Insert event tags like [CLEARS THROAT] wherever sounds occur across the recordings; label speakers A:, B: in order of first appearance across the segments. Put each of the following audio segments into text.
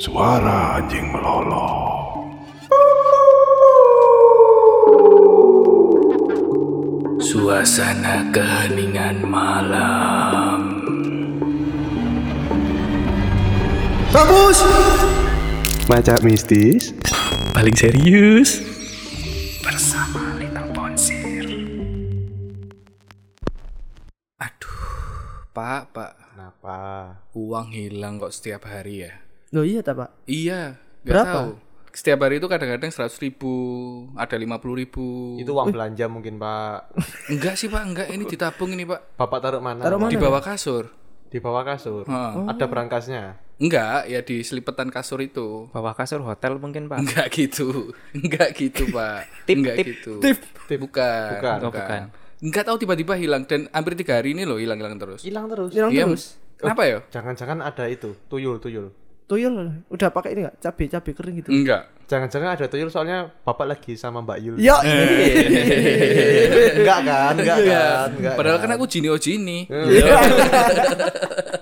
A: Suara anjing melolong.
B: Suasana keheningan malam.
C: Bagus.
D: Macak mistis.
B: Paling serius. Bersama Little Ponsir. Aduh, Pak, Pak.
D: Kenapa?
B: Uang hilang kok setiap hari ya?
C: Loh iya tak pak?
B: Iya, nggak
C: Berapa?
B: tahu. Setiap hari itu kadang-kadang 100 ribu, ada 50 ribu.
D: Itu uang belanja mungkin Pak.
B: Enggak sih Pak, enggak. Ini ditabung ini Pak.
D: Bapak taruh mana?
C: Taruh
B: Di
C: mana? Hmm.
B: bawah kasur.
D: Di bawah kasur.
B: Heeh.
D: Ada berangkasnya.
B: Enggak, ya di selipetan kasur itu.
E: Bawah kasur hotel mungkin pak
B: Enggak gitu. [LAUGHS] Enggak gitu, Pak.
E: Tip,
B: enggak
E: tip,
B: gitu.
C: tip.
D: Ah. Tip.
B: Bukan.
D: Bukan.
E: Oh, bukan.
B: Enggak tahu tiba-tiba hilang dan hampir tiga hari ini loh hilang-hilang terus.
D: Hilang terus. Oh.
C: Hilang
B: Iya,
C: terus.
B: Kenapa ya?
D: Jangan-jangan ada itu, tuyul, tuyul.
C: Tuyul iya udah pakai ini nggak? Cabe cabe kering gitu.
B: Enggak.
D: Jangan-jangan ada tuyul soalnya Bapak lagi sama Mbak Yul.
C: Ya.
B: Eh.
C: iya,
D: enggak kan? Enggak kan? Enggak. Hmm. Iya.
B: Padahal kan aku jini ojini. [LAUGHS]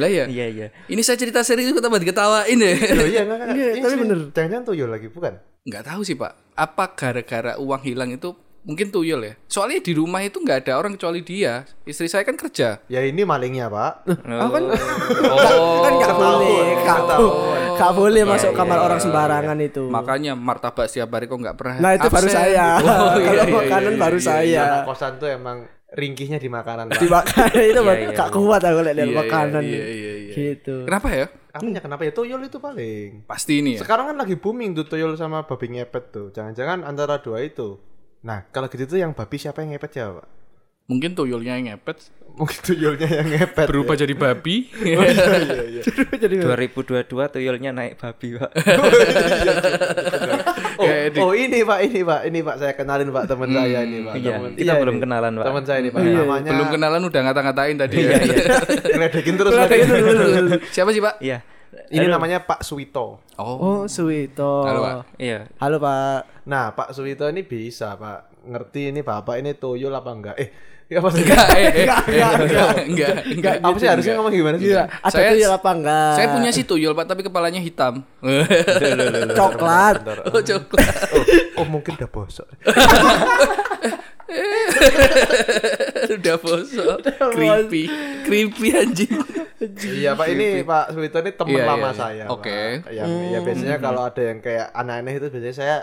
B: Lah ya.
E: [LAUGHS] Iya iya
B: Ini saya cerita serius kok tambah diketawain ya. [LAUGHS]
D: Loh, iya enggak enggak.
C: Iya,
D: Ini
C: tapi
D: sih,
C: bener.
D: Jangan-jangan tuyul lagi, bukan?
B: Enggak tahu sih, Pak. Apa gara-gara uang hilang itu mungkin tuyul ya? Soalnya di rumah itu enggak ada orang kecuali dia. Istri saya kan kerja.
D: Ya ini malingnya, Pak.
C: Aku kan
B: Oh.
C: kan nggak boleh, nggak boleh, nggak
B: Iya,
C: boleh masuk kamar orang sembarangan itu.
B: Makanya martabak setiap hari kok nggak pernah.
C: Nah itu baru
B: absen.
C: saya.
B: [LAUGHS] Oh, iya,
C: Kalau
B: iya,
C: makanan
B: iya,
C: baru
B: iya,
C: saya.
D: Anak kosan tuh emang ringkihnya di makanan, Pak.
C: Dimakan
B: [LAUGHS]
C: itu Pak.
E: iya,
C: nggak kuat aku lihat
B: iya,
C: lihat
B: iya,
C: makanan.
B: iya, iya, iya.
C: Gitu.
B: Kenapa ya?
D: Apanya kenapa ya tuyul itu paling?
B: Pasti ini ya.
D: Sekarang kan lagi booming tuh tuyul sama babi ngepet tuh. Jangan-jangan antara dua itu. Nah, kalau gitu tuh yang babi siapa yang ngepet ya, Pak? [LAUGHS]
B: Mungkin tuyulnya yang ngepet
D: Mungkin tuyulnya yang ngepet.
B: berubah jadi
D: [LAUGHS]
B: babi.
D: Oh, iya,
E: 2022 tuyulnya naik babi pak
D: Oh,
B: Ya, di-
D: oh, ini Pak, ini Pak, ini Pak saya kenalin Pak teman saya ini Pak.
E: Iya,
D: Temen-
E: kita
D: iya,
E: belum
D: ini.
E: kenalan pak
D: Teman saya ini Pak, namanya
B: Belum
C: Nah.
B: kenalan udah ngata-ngatain tadi.
C: Iya,
B: ya.
D: Ngeledekin terus. Pak.
B: Siapa sih Pak?
E: Iya
D: Ini namanya Pak Suwito.
B: Oh,
C: Oh Suwito.
B: Halo, Pak.
E: Iya
C: Halo Pak.
D: Nah, Pak Suwito ini bisa Pak ngerti ini Bapak ini tuyul apa enggak? Eh, [LAUGHS] ya apa sih?
B: enggak, eh, eh,
C: Enggak,
B: eh,
C: enggak,
B: enggak, enggak, enggak.
D: Apa sih harusnya ngomong gimana sih?
C: Iya. Ada
B: Saya-
C: tuyul apa enggak?
B: Saya punya si tuyul Pak, tapi kepalanya hitam.
C: [LAUGHS] coklat.
B: oh, coklat.
D: Oh, oh, mungkin udah bosok.
B: udah bosok. Creepy. Creepy anjing.
D: Iya Pak ini Pak Suwito ini teman
B: Iya,
D: lama
B: iya, iya.
D: saya. Pak.
B: Oke.
D: Yang ya biasanya kalau ada yang kayak aneh-aneh itu biasanya saya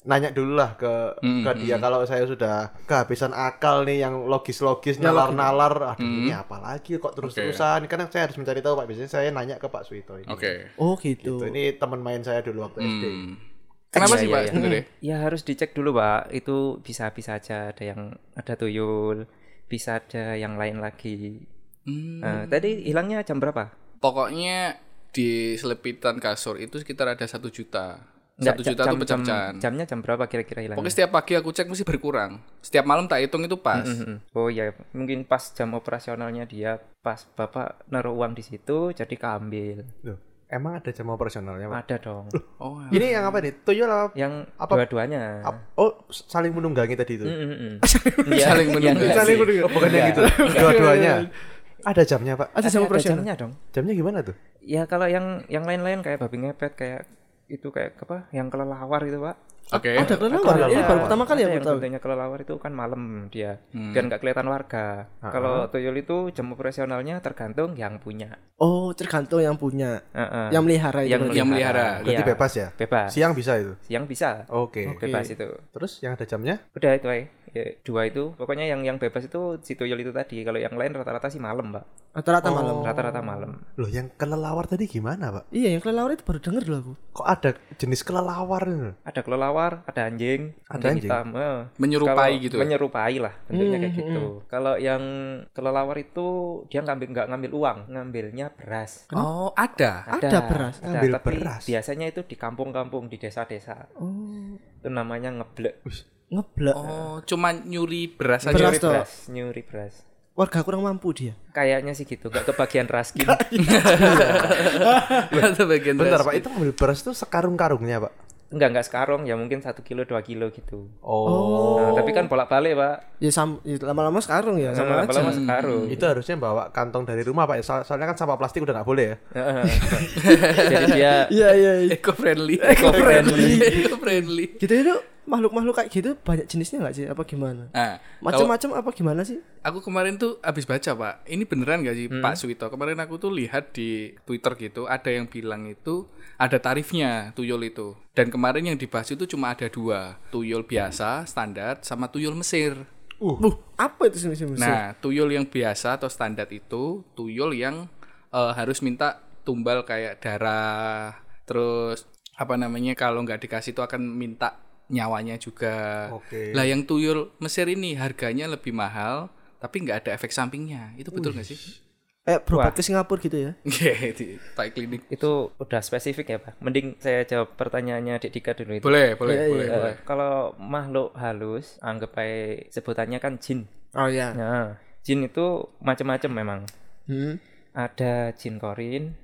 D: nanya dulu lah ke
B: Hmm,
D: ke dia kalau saya sudah kehabisan akal nih yang logis-logis nalar-nalar aduh
B: Hmm.
D: ini apa lagi kok terus-terusan karena saya harus mencari tahu Pak biasanya saya nanya ke Pak Suwito ini.
B: Oke.
C: Oh
D: Gitu,
C: gitu.
D: Ini teman main saya dulu waktu SD.
B: Hmm. Kenapa
E: Iya,
B: sih
E: iya,
B: Pak
E: iya.
B: sebenarnya?
E: Ya harus dicek dulu pak Itu bisa-bisa aja Ada yang ada tuyul Bisa ada yang lain lagi
B: Hmm.
E: Nah, Tadi hilangnya jam berapa?
B: Pokoknya di selepitan kasur itu sekitar ada satu juta.
E: Nggak,
B: Satu juta
E: jam-
B: itu
E: jam- jam-
B: pecah-pecahan.
E: Jamnya jam berapa kira-kira hilangnya?
B: Pokoknya setiap pagi aku cek mesti berkurang. Setiap malam tak hitung itu pas. [LAUGHS]
E: Mm-mm. Oh iya, mungkin pas jam operasionalnya dia pas bapak naruh uang di situ jadi keambil.
D: Loh, emang ada jam operasionalnya Pak?
E: Ada dong.
B: Oh,
D: Ini yang apa nih? Tuyul apa?
E: Yang
D: Apa-
E: dua-duanya.
D: ap- Oh, saling menunggangi tadi itu.
E: Mm-mm-mm.
B: Iya, saling menunggu.
E: enggak
B: Saling
E: sih.
D: Hmm. Oh, bukan yang itu. Dua-duanya. Ada jamnya, Pak.
C: Ada
E: Ada-
C: sama
E: ada
C: operasional.
E: jamnya dong.
D: Jamnya gimana tuh?
E: Ya kalau yang yang lain-lain kayak babi ngepet kayak itu kayak apa? Yang kelelawar itu pak.
B: Oke.
E: Eh,
C: Ada kelelawar. Ini baru pertama kali ya
E: Ada
C: aku
E: yang
C: tahu.
E: bentuknya kelelawar itu kan malam dia
D: Hmm.
E: biar nggak kelihatan warga. Kalau tuyul itu jam operasionalnya tergantung yang punya.
C: Oh tergantung yang punya,
E: Heeh.
C: yang melihara itu.
E: Ah. Yang
C: berarti.
B: Yang melihara.
D: Berarti
E: Iya.
D: bebas ya?
E: Bebas.
D: Siang bisa itu.
E: Siang bisa.
D: Oke.
E: Bebas itu.
D: Terus yang ada jamnya?
E: Udah itu ay. Ya, dua itu pokoknya yang yang bebas itu si tuyul itu tadi. Kalau yang lain rata-rata sih malam, Mbak.
C: Rata-rata
E: Oh.
C: malam.
E: Rata-rata malam.
D: Loh, yang kelelawar tadi gimana, Pak?
C: Iya, yang kelelawar itu baru denger loh aku.
D: Kok ada jenis kelelawar ini?
E: Ada kelelawar, ada anjing,
D: Ada anjing?
E: hitam. eh.
B: Menyerupai
E: Kalau
B: gitu.
E: Menyerupai lah bentuknya kayak gitu. Kalau yang kelelawar itu dia ngambil nggak ngambil uang, ngambilnya beras.
B: Oh, ada.
C: Ada beras?
E: ada,
D: Ngambil
E: tapi
D: beras.
E: biasanya itu di kampung-kampung, di desa-desa.
C: Oh,
E: Itu namanya ngeblek.
C: ngeblek.
B: Oh, cuman nyuri beras aja. [LAUGHS]
C: Beras
E: Nyuri
C: toh.
E: beras, nyuri beras.
C: Warga kurang mampu dia.
E: Kayaknya sih gitu, nggak kebagian raskin.
B: Ada bagian
D: Bentar,
B: beras.
D: Pak. Itu ngambil beras itu sekarung-karungnya, Pak.
E: enggak enggak sekarung ya mungkin satu kilo dua kilo gitu
D: Oh.
E: Nah, tapi kan bolak balik pak
C: Ya sam- ya, lama-lama sekarang ya sama aja.
E: lama sekarung
D: Itu harusnya bawa kantong dari rumah Pak. So- Soalnya kan sampah plastik udah nggak boleh ya.
E: [LAUGHS] jadi dia
C: Iya iya. iya.
B: Eco friendly. Eco [LAUGHS] friendly. Eco friendly.
C: Gitu itu makhluk-makhluk kayak gitu banyak jenisnya nggak sih? Apa gimana?
B: Nah, kalau
C: Macam-macam apa gimana sih?
B: aku kemarin tuh habis baca, Pak. Ini beneran gak sih, Pak Suwito? Kemarin aku tuh lihat di Twitter gitu, ada yang bilang itu ada tarifnya tuyul itu. Dan kemarin yang dibahas itu cuma ada dua, tuyul biasa standar sama tuyul Mesir.
C: Loh, apa itu sih musuh?
B: Nah, tuyul yang biasa atau standar itu tuyul yang eh, harus minta tumbal kayak darah, terus apa namanya kalau nggak dikasih itu akan minta nyawanya juga.
D: Oke.
B: Lah yang tuyul Mesir ini harganya lebih mahal, tapi nggak ada efek sampingnya. Itu betul nggak sih?
C: Eh, berobat ke Singapura gitu ya.
B: Iya, [LAUGHS] di Thai klinik.
E: itu udah spesifik ya pak mending saya jawab pertanyaannya Dek Dika dulu itu
B: Boleh, boleh, boleh,
E: Eh,
B: boleh.
E: kalau makhluk halus anggap aja sebutannya kan jin
C: Oh iya.
E: nah jin itu macam-macam memang
C: Hmm.
E: ada jin korin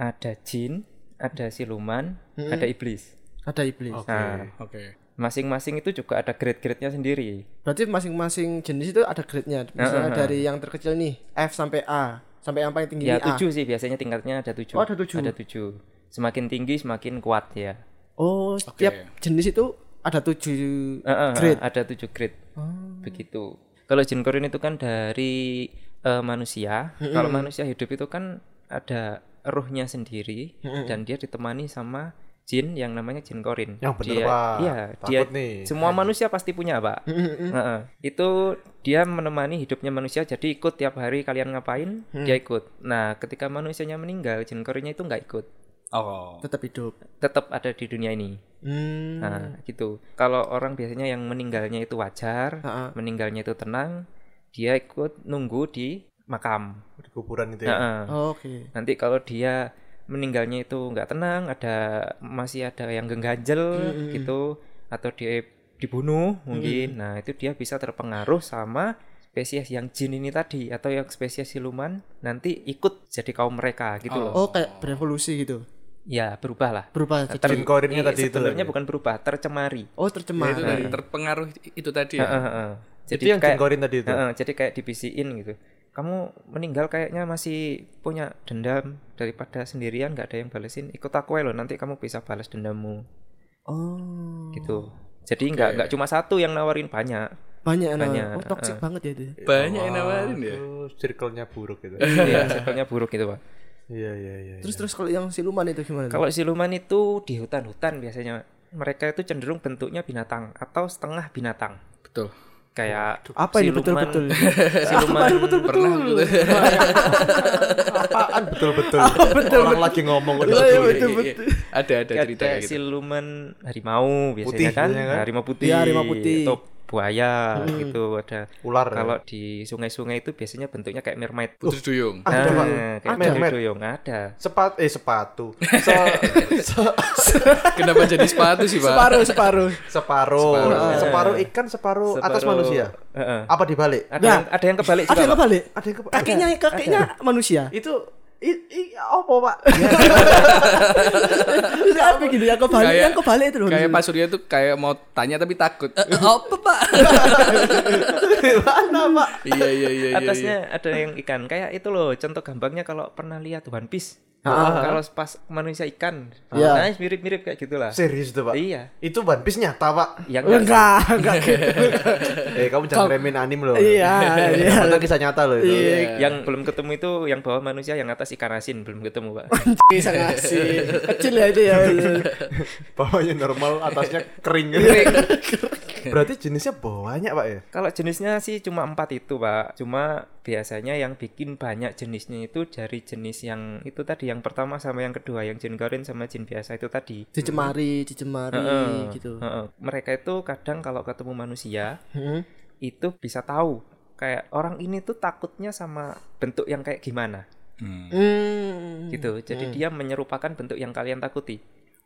E: ada jin ada siluman ada iblis
C: Ada iblis.
E: nah
B: Oke.
E: masing-masing itu juga ada grade-grade-nya sendiri
C: Berarti masing-masing jenis itu ada grade-nya. Misalnya dari yang terkecil nih F sampai A, sampai yang paling tinggi
E: ya
C: ini A.
E: tujuh sih biasanya tingkatnya ada tujuh
C: Iya. Oh, ada tujuh.
E: ada tujuh semakin tinggi semakin kuat ya
C: Oh, setiap jenis itu ada tujuh
E: Eh, eh, eh,
C: grade.
E: ada tujuh grade
D: Oh.
E: begitu kalau jin korin itu kan dari eh, manusia kalau manusia hidup itu kan ada ruhnya sendiri dan dia ditemani sama jin yang namanya jin korin
D: Yang bener,
E: dia,
D: Pak.
E: iya,
D: Takut
E: dia
D: nih.
E: semua manusia pasti punya pak Eh, eh. itu dia menemani hidupnya manusia jadi ikut tiap hari kalian ngapain dia ikut nah ketika manusianya meninggal jin korinnya itu nggak ikut
B: Oh.
C: Tetap hidup.
E: tetap ada di dunia ini
C: Hmm.
E: Nah, gitu. Kalau orang biasanya yang meninggalnya itu wajar,
C: Ha-ha.
E: meninggalnya itu tenang, dia ikut nunggu di makam.
D: Di kuburan itu ya.
E: Nah, eh.
C: Oh, Oke.
E: Nanti kalau dia meninggalnya itu nggak tenang, ada masih ada yang gengganjel gitu, atau dia dibunuh mungkin. Nah, itu dia bisa terpengaruh sama spesies yang jin ini tadi atau yang spesies siluman nanti ikut jadi kaum mereka gitu loh.
C: Oh, kayak berevolusi gitu.
E: Ya, berubah lah.
C: Berubah jadi.
E: Ter-
D: Jin korinnya
E: ini
D: tadi itu
E: Iya, sebenarnya bukan berubah, tercemari.
C: Oh,
B: Ya,
C: tercemar.
B: itu dari terpengaruh itu tadi
E: Heeh,
B: ya.
E: heeh. Jadi
D: Iya. Itu yang
E: kayak
D: jin korin
C: Gitu.
D: tadi itu.
E: Heeh, jadi kayak dibisiin gitu. Kamu meninggal kayaknya masih punya dendam daripada sendirian nggak ada yang balesin. Ikut aku aja loh nanti kamu bisa balas dendammu
C: Oh.
E: gitu. Jadi nggak nggak cuma satu yang nawarin banyak.
C: [LAUGHS] Banyak anak.
E: Banyak,
C: Oh, toxic banget ya itu.
B: Banyak yang nawarin ya.
D: Waduh, circle-nya buruk gitu.
E: Iya, circle-nya buruk gitu, Pak.
D: Iya iya iya.
C: Terus terus kalau yang siluman itu gimana? tuh?
E: Kalau siluman itu di hutan-hutan biasanya mereka itu cenderung bentuknya binatang atau setengah binatang.
B: Betul.
E: Kayak
C: Apa ini
E: siluman-
C: betul-betul?
E: [LAUGHS]
C: [LAUGHS]
E: Siluman
B: Pernah gitu.
D: Apaan
E: [LAUGHS]
D: betul-betul? Orang lagi ngomong
E: Iya,
D: udah Iya, betul.
B: Iya, Ada ada cerita
E: kayak
B: kayak gitu.
E: siluman harimau biasanya
D: Putih
E: kan,
D: biasanya kan?
E: harimau putih,
C: Iya, harimau putih. Hmm.
E: atau buaya gitu ada
D: Ular ya?
E: kalau di sungai-sungai itu biasanya bentuknya kayak mermaid
B: Putri Duyung.
E: nah,
D: Pak?
E: kayak
D: Mermaid?
E: mermaid duyung ada
D: Sepat eh
E: [LAUGHS]
D: sepatu. Se- se-
B: Kenapa jadi sepatu sih, Pak?
C: Separuh, separuh.
D: separuh.
B: Separuh.
D: Separuh ikan, separuh atas
E: Separuh-
D: manusia.
E: Heeh.
D: Apa dibalik?
E: ada yang ada yang kebalik
C: Nah. Ada
E: juga
C: yang
E: Pak.
C: kebalik?
D: Ada yang kebalik.
C: Kakinya kakinya manusia.
D: Itu i- i- apa, Pak? [LAUGHS]
C: Terus apa gitu yang kebalik?
B: Kayak-
C: yang kebalik itu loh.
B: Kayak Pak Surya tuh kayak mau tanya tapi takut. Eh, eh, apa, Pak?
D: Mana, Pak?
B: [LAUGHS] Iya, iya, iya, iya.
E: atasnya ada yang ikan kayak itu loh contoh gambarnya kalau pernah lihat One Piece kalau pas manusia ikan
C: Ah, Iya.
E: nah mirip-mirip kayak gitulah
D: Serius tuh, Pak?
E: Iya.
D: Itu One Piece nyata, Pak.
E: yang
C: Enggak, enggak gitu.
D: Eh, kamu jangan remin anim loh.
C: Iya, iya.
D: Itu kisah nyata loh itu.
E: yang belum ketemu itu yang bawah manusia yang atas ikan asin belum ketemu pak
C: Bisa ngasih. Kecil ya itu ya.
D: Bawahnya normal, atasnya kering. Berarti jenisnya banyak, Pak ya?
E: Kalau jenisnya sih cuma empat itu pak Cuma biasanya yang bikin banyak jenisnya itu dari jenis yang itu tadi Yang pertama sama yang kedua Yang jin korin sama jin biasa itu tadi
C: Dicemari, dicemari
E: Heeh,
C: gitu.
E: heeh. Mereka itu kadang kalau ketemu manusia
C: Heeh.
E: Itu bisa tahu Kayak orang ini tuh takutnya sama bentuk yang kayak gimana
C: Hmm.
E: gitu Jadi dia menyerupakan bentuk yang kalian takuti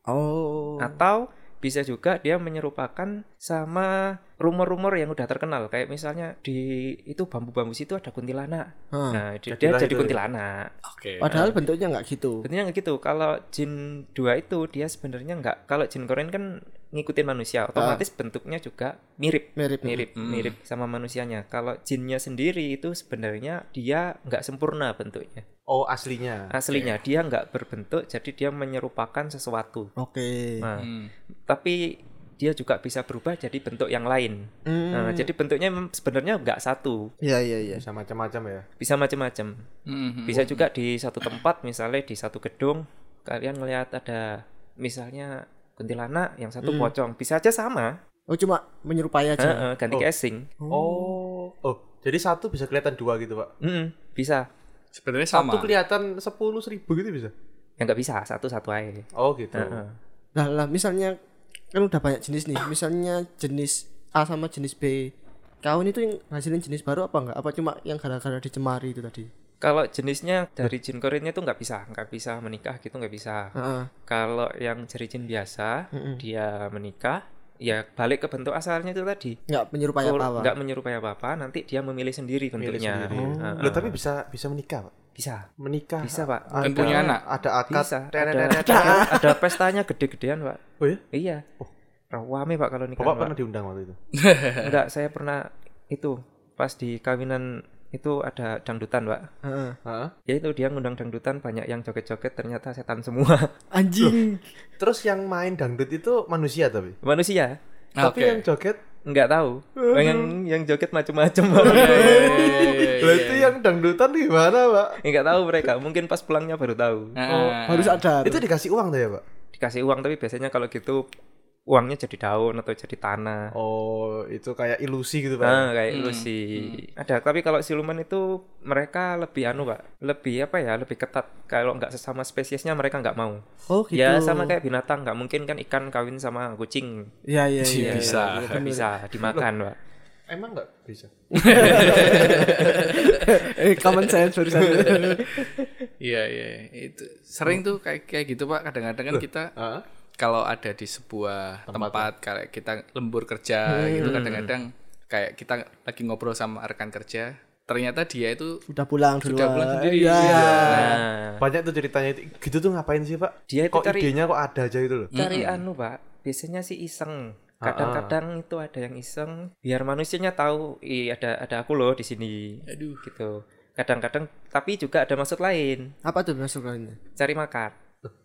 C: Oh.
E: Atau bisa juga dia menyerupakan sama rumor-rumor yang udah terkenal kayak misalnya di itu bambu-bambu situ ada kuntilanak
C: Ah,
E: nah di- dia
D: jadilah
E: jadi
D: itu ya.
E: kuntilanak
B: Oke.
C: Padahal bentuknya nggak gitu.
E: Sebenarnya nggak gitu. Kalau jin dua itu dia sebenarnya nggak. Kalau jin Korean kan ngikutin manusia, otomatis bentuknya juga mirip,
C: Mirip.
E: mirip, mirip sama manusianya. Kalau jinnya sendiri itu sebenarnya dia nggak sempurna bentuknya.
D: Oh aslinya.
E: Aslinya dia nggak berbentuk, jadi dia menyerupakan sesuatu.
C: Oke.
E: Nah,
B: Hmm.
E: tapi dia juga bisa berubah jadi bentuk yang lain. Nah,
D: Mm.
E: jadi bentuknya mem- sebenarnya nggak satu,
C: Hmm. Iya iya iya.
D: Bisa macam-macam ya.
E: bisa macam-macam.
B: Hmm, hmm.
E: Bisa juga di satu tempat, misalnya di satu gedung, kalian ngelihat ada misalnya kuntilanak yang
D: Hmm.
E: satu pocong, bisa aja sama,
C: Oh cuma menyerupai aja.
E: Heeh, ganti
D: Oh.
E: casing,
D: Oh. Oh, jadi satu bisa kelihatan dua gitu, Pak.
E: Mm-mm, bisa,
B: Sebenarnya sama.
D: Satu kelihatan sepuluh seribu gitu bisa.
E: ya nggak bisa satu-satu aja.
D: Oh gitu.
E: Heeh.
C: Lah lah misalnya kan udah banyak jenis nih. Misalnya jenis A sama jenis B. Kau ini tuh yang hasilin jenis baru apa enggak? Apa cuma yang gara-gara dicemari itu tadi?
E: Kalau jenisnya dari jin Koreanya itu nggak bisa, nggak bisa menikah gitu nggak bisa.
C: Heeh.
E: Kalau yang dari jin biasa, dia menikah, ya balik ke bentuk asalnya itu tadi.
C: Nggak menyerupai apa-apa.
E: Nggak menyerupai apa-apa, nanti dia memilih sendiri
D: Milih
E: bentuknya.
D: sendiri.
E: Heeh.
D: Loh, tapi bisa bisa menikah, Pak.
E: Bisa,
D: Menikah.
E: Oh. bisa pak.
B: Dan Kan punya anak.
D: Ada akad.
E: Bisa. Ada,
D: Tererererer.
E: ada, ada pestanya gede-gedean, Pak.
D: Oh ya?
E: Iya. Rawame, Pak, kalau nikah,
D: Bapak
E: Pak.
D: pernah diundang waktu itu.
E: Enggak, saya pernah itu pas di kawinan itu ada dangdutan, Pak.
C: Heeh.
D: Heeh.
E: Ya itu dia ngundang dangdutan banyak yang joget-joget ternyata setan semua. [LAUGHS]
C: Anjing.
D: Terus yang main dangdut itu manusia tapi.
E: Manusia
D: Tapi yang joget
E: enggak tahu. yang yang joget macam-macam, Pak.
B: Iya,
E: [LAUGHS] Iya,
D: berarti yang dangdutan gimana, Pak?
E: Enggak tahu mereka, mungkin pas pulangnya baru tahu.
B: Ah,
C: Baru
B: Iya,
C: sadar.
D: Itu dikasih uang tuh ya, Pak?
E: Dikasih uang tapi biasanya kalau gitu uangnya jadi daun atau jadi tanah.
D: Oh, itu kayak ilusi gitu, Pak.
E: Ah,
C: Hmm,
E: kayak ilusi. Ada, tapi kalau siluman itu mereka lebih anu, Pak. Lebih apa ya? Lebih ketat. Kalau nggak sesama spesiesnya mereka nggak mau.
C: Oh gitu.
E: Ya sama kayak binatang, nggak mungkin kan ikan kawin sama kucing.
C: Iya iya iya.
B: Bisa.
E: Nggak bisa dimakan, Pak.
D: Emang nggak bisa.
C: eh common sense
E: [LAUGHS]
C: barusan.
B: Iya iya itu sering tuh kayak kayak gitu pak kadang-kadang kan kita
D: Heeh.
B: kalau ada di sebuah tempat, kayak kita lembur kerja gitu kadang-kadang kayak kita lagi ngobrol sama rekan kerja ternyata dia itu
C: Udah pulang duluan.
B: udah pulang sendiri
C: Iya.
E: Nah,
D: Banyak tuh ceritanya itu. Gitu tuh ngapain sih, Pak?
E: Dia itu
D: kok
E: cari-
D: idenya kok ada aja gitu loh.
E: cari anu, Pak. Biasanya sih iseng. Kadang-kadang itu ada yang iseng biar manusianya tahu, "Ih, ada ada aku loh di sini."
B: Aduh.
E: Gitu. Kadang-kadang tapi juga ada maksud lain,
C: Apa tuh masukannya?
E: cari makan.